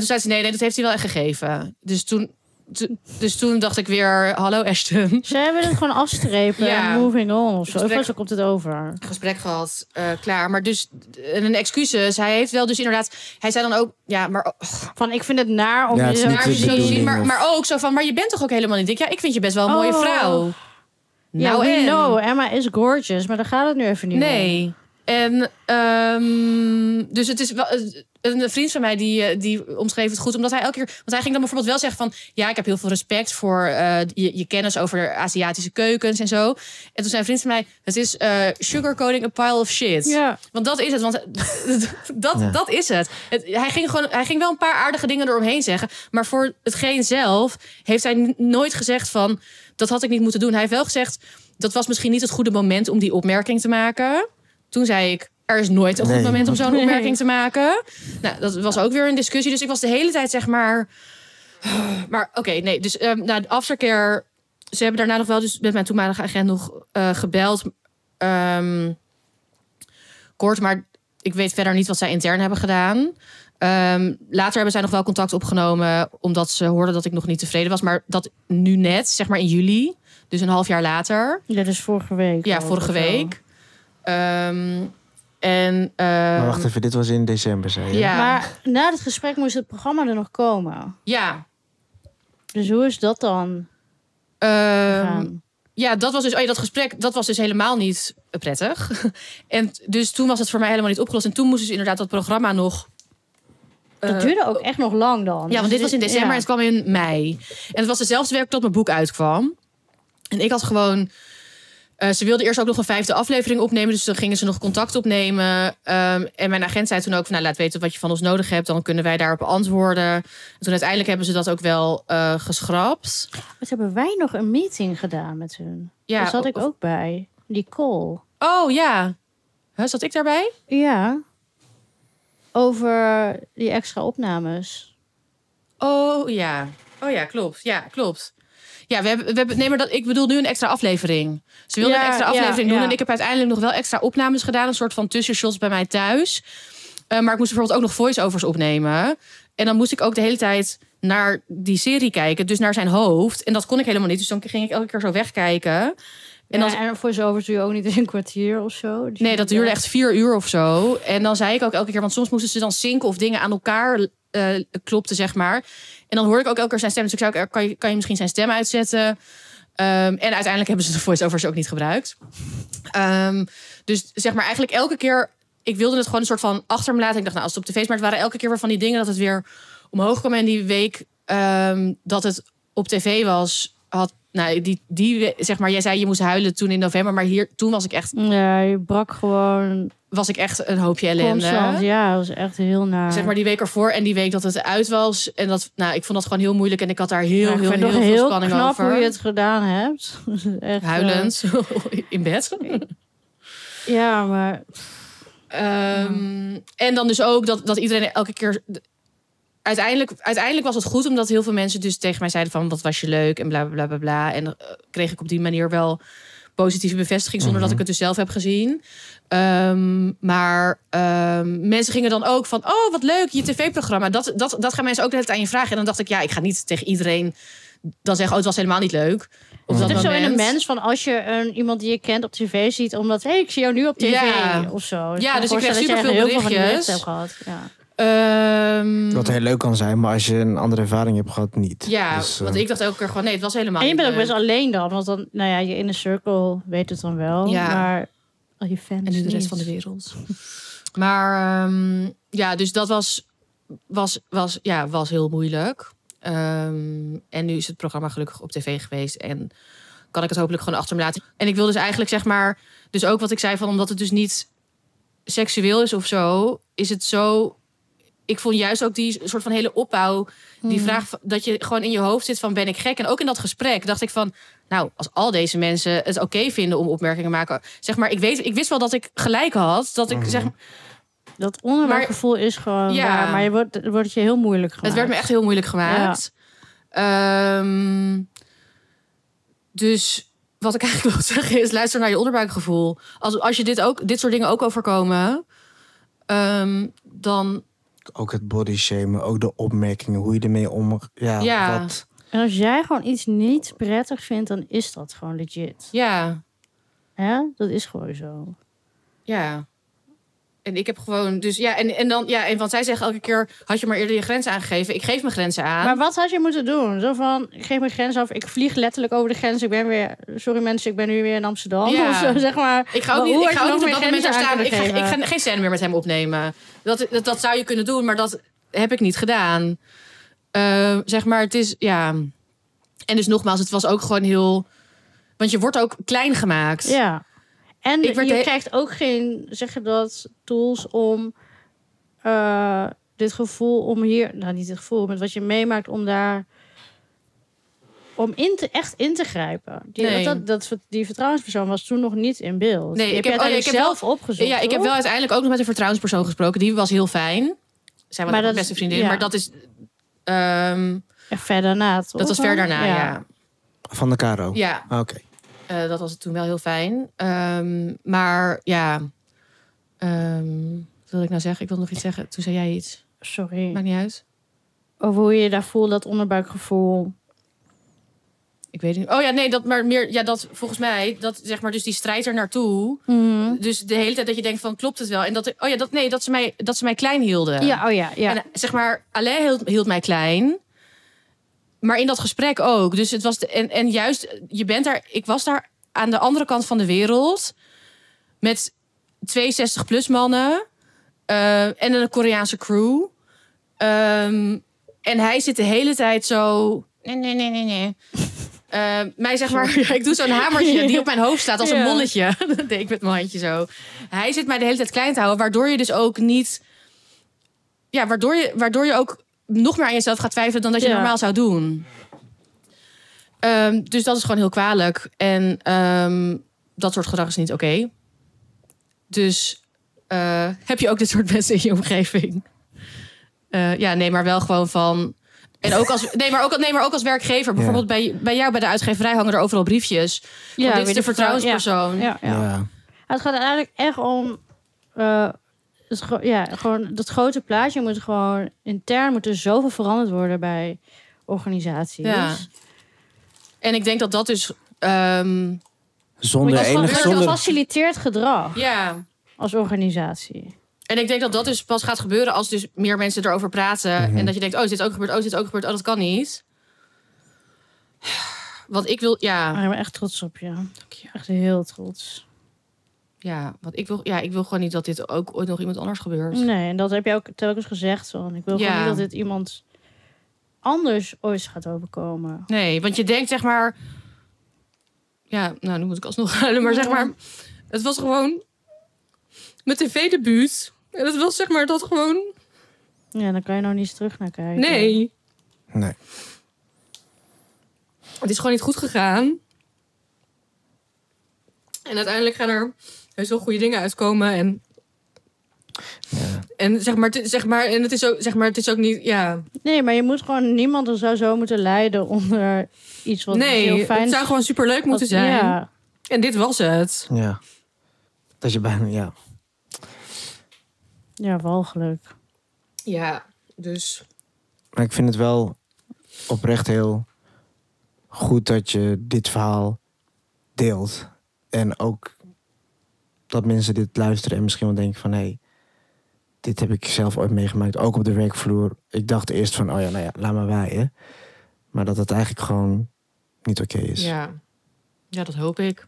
toen zei ze, nee, nee, dat heeft hij wel echt gegeven. Dus toen, to- dus toen dacht ik weer, hallo Ashton. Ze hebben het gewoon afstrepen Ja. en moving on of zo. Gesprek- Of zo komt het over. Gesprek gehad, eh, klaar. Maar dus, en een excuses. Hij heeft wel dus inderdaad... Hij zei dan ook, ja, maar Van ik vind het naar om Ja, het je is zo- niet maar, de zo zien, bedoeling, maar, of- maar ook zo van, maar je bent toch ook helemaal niet dik? Ja, ik vind je best wel een mooie Oh. vrouw. Ja, we Nou en? know. Emma is gorgeous, maar daar gaat het nu even niet om. Nee. En ehm, dus het is wel. Een vriend van mij die, eh, die omschreef het goed, omdat hij elke keer. Want hij ging dan bijvoorbeeld wel zeggen van. Ja, ik heb heel veel respect voor eh, je, je kennis over Aziatische keukens en zo. En toen zei een vriend van mij: Het is eh, sugarcoating a pile of shit. Ja. Want dat is het. Want dat, Ja. dat is het. het hij, ging gewoon, hij ging wel een paar aardige dingen eromheen zeggen. Maar voor hetgeen zelf heeft hij n- nooit gezegd van... dat had ik niet moeten doen. Hij heeft wel gezegd... dat was misschien niet het goede moment om die opmerking te maken. Toen zei ik... Er is nooit een Nee. goed moment om zo'n Nee. opmerking te maken. Nou, dat was ook weer een discussie. Dus ik was de hele tijd, zeg maar. Maar oké, nee. Dus ehm na de aftercare. Ze hebben daarna nog wel dus met mijn toenmalige agent nog eh, gebeld. Ehm, kort, maar ik weet verder niet wat zij intern hebben gedaan. Ehm, later hebben zij nog wel contact opgenomen, omdat ze hoorden dat ik nog niet tevreden was. Maar dat nu net, zeg maar in juli, dus een half jaar later. Ja, dus vorige week. Ja, ook vorige of zo. week. Ehm, en. ehm, maar wacht even, dit was in december, zei je? Ja. Maar na het gesprek moest het programma er nog komen. Ja. Dus hoe is dat dan ehm, gegaan? ja, dat was dus, oh ja, dat gesprek, dat was dus helemaal niet prettig. En t- dus toen was het voor mij helemaal niet opgelost. En toen moest dus inderdaad dat programma nog. eh, Dat duurde ook echt nog lang dan. ja, want dit Dus was in december en ja. het kwam in mei. En het was dezelfde werk tot mijn boek uitkwam. En ik had gewoon. eh, ze wilden eerst ook nog een vijfde aflevering opnemen. Dus dan gingen ze nog contact opnemen. Ehm, en mijn agent zei toen ook: van, Nou, laat weten wat je van ons nodig hebt. Dan kunnen wij daarop antwoorden. En toen uiteindelijk hebben ze dat ook wel eh, geschrapt. Wat hebben wij nog een meeting gedaan met hun? Ja, Daar zat Dus ik of- ook bij. Die call. Oh ja. Huh, zat ik daarbij? Ja. Over die extra opnames. Oh ja. Oh ja, klopt. Ja, klopt. Ja, we hebben, we hebben, nee, maar dat, ik bedoel nu een extra aflevering. Ze wilden Ja, een extra ja, aflevering doen. ja. En ik heb uiteindelijk nog wel extra opnames gedaan. Een soort van tussenshots bij mij thuis. Eh, maar ik moest bijvoorbeeld ook nog voice-overs opnemen. En dan moest ik ook de hele tijd naar die serie kijken. Dus naar zijn hoofd. En dat kon ik helemaal niet. Dus dan ging ik elke keer zo wegkijken. En En, dan ja, en voor zover doe je ook niet in een kwartier of zo. Dus Nee, je dat moet duurde wel- echt vier uur of zo. En dan zei ik ook elke keer, want soms moesten ze dan zinken of dingen aan elkaar eh klopten, zeg maar. En dan hoorde ik ook elke keer zijn stem. Dus ik zei ook, kan je, kan je misschien zijn stem uitzetten? Ehm, en uiteindelijk hebben ze de voice-overs ook niet gebruikt. Ehm, dus zeg maar eigenlijk elke keer... Ik wilde het gewoon een soort van achter me laten. Ik dacht, nou, als het op tv is... Maar het waren elke keer weer van die dingen dat het weer omhoog kwam. En die week ehm, dat het op tv was... Had, nou, die, die, we- zeg maar, jij zei je moest huilen toen in november. Maar hier, toen was ik echt Ja, je brak gewoon was ik echt een hoopje constant. ellende. Ja, dat was echt heel naar. Zeg maar die week ervoor en die week dat het uit was. En dat, nou, ik vond dat gewoon heel moeilijk. En ik had daar heel, Maar ik heel, vind heel, het veel heel spanning knap over. hoe je het gedaan hebt. echt, eh, Huilend in bed. ja, maar Ehm, En dan dus ook dat, dat iedereen elke keer. Uiteindelijk, uiteindelijk was het goed, omdat heel veel mensen dus tegen mij zeiden van wat was je leuk en bla bla bla bla. bla. En eh, kreeg ik op die manier wel positieve bevestiging, zonder Mhm. dat ik het dus zelf heb gezien. Ehm, maar ehm, mensen gingen dan ook van, oh wat leuk, je tv-programma. Dat, dat, dat gaan mensen ook de hele tijd aan je vragen. En dan dacht ik, ja, ik ga niet tegen iedereen dan zeggen, oh het was helemaal niet leuk. Of Het dat is Mhm. zo in een moment. mens van als je een, iemand die je kent op tv ziet, omdat hé, hey, ik zie jou nu op tv Ja. of zo. Ja, kan dus me ik kreeg voorstellen dat jij superveel heel veel van die berichtjes. berichten hebt gehad. Ja. Ehm, Wat heel leuk kan zijn, maar als je een andere ervaring hebt gehad, niet. ja, Dus, eh, want ik dacht elke keer gewoon, nee, het was helemaal En je niet bent ook leuk. best alleen dan, want dan, nou ja, je inner circle weet het dan wel, Ja. maar al je fans En nu de rest niet. van de wereld. Maar ehm, ja, dus dat was, was, was, ja, was heel moeilijk. Ehm, en nu is het programma gelukkig op tv geweest. En kan ik het hopelijk gewoon achter me laten. En ik wil dus eigenlijk zeg maar... Dus ook wat ik zei van omdat het dus niet seksueel is of zo... Is het zo... Ik vond juist ook die soort van hele opbouw... Die vraag van- dat je gewoon in je hoofd zit van ben ik gek? En ook in dat gesprek dacht ik van... Nou, als al deze mensen het oké vinden om opmerkingen te maken... Zeg maar, ik, weet, ik wist wel dat ik gelijk had. Dat ik, zeg, Dat onderbuikgevoel is gewoon Ja. waar, maar je wordt, het wordt je heel moeilijk gemaakt. Het werd me echt heel moeilijk gemaakt. Ehm, dus wat ik eigenlijk wil zeggen is: luister naar je onderbuikgevoel. Als, als je dit, ook, dit soort dingen ook overkomen, ehm, dan Ook het body shamen, ook de opmerkingen, hoe je ermee om... Ja, Ja. Wat, En als jij gewoon iets niet prettig vindt, dan is dat gewoon legit. ja, Hè? Dat is gewoon zo. ja. En ik heb gewoon, dus ja, en, en dan, ja, en want zij zeggen elke keer: had je maar eerder je grenzen aangegeven? Ik geef mijn grenzen aan. Maar wat had je moeten doen? Zo van, ik geef mijn grens af. Ik vlieg letterlijk over de grens. Ik ben weer, sorry mensen, ik ben nu weer in Amsterdam. Ja. Of zo, zeg maar. Ik ga ook Maar niet, ik hoe had ga je ook nog niet op meer dat moment daar grenzen staan. aan Ik ga, kunnen ik geven? ga geen scène meer met hem opnemen. Dat, dat, dat zou je kunnen doen, maar dat heb ik niet gedaan. Eh, zeg maar, het is, ja... En dus nogmaals, het was ook gewoon heel... Want je wordt ook klein gemaakt. Ja. En Ik werd je he- krijgt ook geen, zeg je dat, tools om eh, dit gevoel om hier, nou niet het gevoel, maar wat je meemaakt om daar, om in te, echt in te grijpen. Die, Nee. dat, dat, die vertrouwenspersoon was toen nog niet in beeld. Nee, Die ik heb heb- oh je ja, uiteindelijk ik heb wel- zelf opgezocht. Ja, ik heb toch? wel uiteindelijk ook nog met een vertrouwenspersoon gesproken. Die was heel fijn. Zij was Maar mijn dat- beste vriendin. ja. Maar dat is... ehm, En ver daarna, toch? dat was ver daarna, ja. van de Caro. ja. Ah, Oké. Eh, dat was het toen wel heel fijn. Ehm, maar ja, ehm, wat wilde ik nou zeggen? Ik wil nog iets zeggen. Toen zei jij iets. Sorry. Maakt niet uit. Over hoe je je daar voelt, dat onderbuikgevoel. Ik weet het niet. Oh ja, nee, dat maar meer. Ja, dat volgens mij, dat zeg maar, dus die strijd er naartoe. Dus de hele tijd dat je denkt van klopt het wel? En dat, oh ja, dat nee, dat ze mij, dat ze mij klein hielden. Ja, oh ja, ja. En eh, zeg maar, Alain hield, hield mij klein. Maar in dat gesprek ook. Dus het was de, en, en juist, eh, je bent daar. Ik was daar aan de andere kant van de wereld. Met 62 plus mannen. eh, en een Koreaanse crew. Ehm, en hij zit de hele tijd zo. Nee, nee, nee, nee, nee. Ehm, mij zeg maar, ja, ik doe zo'n hamertje die op mijn hoofd staat als een Ja. molletje. Dat deed ik met mijn handje zo. Hij zit mij de hele tijd klein te houden, waardoor je dus ook niet. Ja, waardoor je, waardoor je ook nog meer aan jezelf gaat twijfelen dan dat je Ja. normaal zou doen. Ehm, dus dat is gewoon heel kwalijk. En ehm, dat soort gedrag is niet oké. Dus eh, heb je ook dit soort mensen in je omgeving? Eh, ja, nee, maar wel gewoon van. En ook als, nee, maar ook, nee, maar ook als werkgever. Bijvoorbeeld bij, bij jou bij de uitgeverij hangen er overal briefjes. Ja, dit weer is de vertrouw- vertrouwenspersoon. Ja, ja, ja. Ja. Het gaat eigenlijk echt om. eh, het, gro- ja, gewoon dat grote plaatje moet gewoon. Intern moet er zoveel veranderd worden bij organisaties. Ja. En ik denk dat dat dus. ehm, Zonder Want enig dat zonder. faciliteert gedrag ja. als Ah. organisatie. En ik denk dat dat dus pas gaat gebeuren als dus meer mensen erover praten. En dat je denkt, oh, is dit ook gebeurd? Oh, is dit ook gebeurd? Oh, dat kan niet. Want ik wil, ja, Maar ik ben echt trots op je. je. Echt heel trots. ja, want ik wil, ja, ik wil gewoon niet dat dit ook ooit nog iemand anders gebeurt. Nee, en dat heb je ook telkens gezegd. Van. Ik wil Ja. gewoon niet dat dit iemand anders ooit gaat overkomen. Nee, want je denkt zeg maar. Ja, nou, nu moet ik alsnog huilen, maar zeg maar. Het was gewoon. Mijn tv-debuut. En het was zeg maar dat gewoon. Ja, dan kan je nou niet terug naar kijken. Nee. Nee. Het is gewoon niet goed gegaan. En uiteindelijk gaan er heus wel goede dingen uitkomen. En, en zeg maar, het is- zeg maar, en het is ook, zeg maar, het is ook niet, ja. Nee, maar je moet gewoon niemand er zou zo moeten lijden onder iets wat nee, heel fijn het zou gewoon superleuk moeten zijn. Ja, En dit was het. Ja. Dat je bijna. Ja. ja walgelijk. Ja, dus. Maar ik vind het wel oprecht heel goed dat je dit verhaal deelt. En ook dat mensen dit luisteren en misschien wel denken van... hé, hey, dit heb ik zelf ooit meegemaakt, ook op de werkvloer. Ik dacht eerst van, oh ja, nou ja, laat maar waaien. Maar dat het eigenlijk gewoon niet oké is. Ja. ja, dat hoop ik.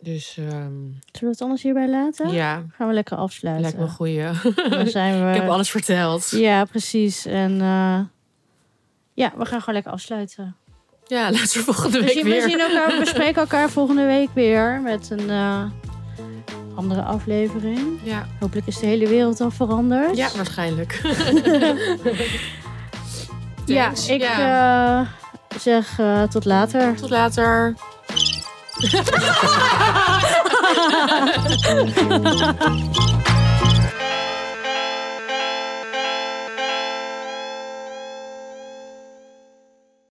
Dus ehm, Zullen we het anders hierbij laten? ja, Gaan we lekker afsluiten. lijkt me een goeie. Dan zijn we... Ik heb alles verteld. Ja, precies. En eh, ja, we gaan gewoon lekker afsluiten. Ja, laten we volgende We week zien, we weer. zien elkaar, we spreken elkaar volgende week weer met een eh, andere aflevering. Ja. Hopelijk is de hele wereld al veranderd. ja, waarschijnlijk. Ja, Thanks. ik Ja. eh, zeg eh, tot later. Tot later.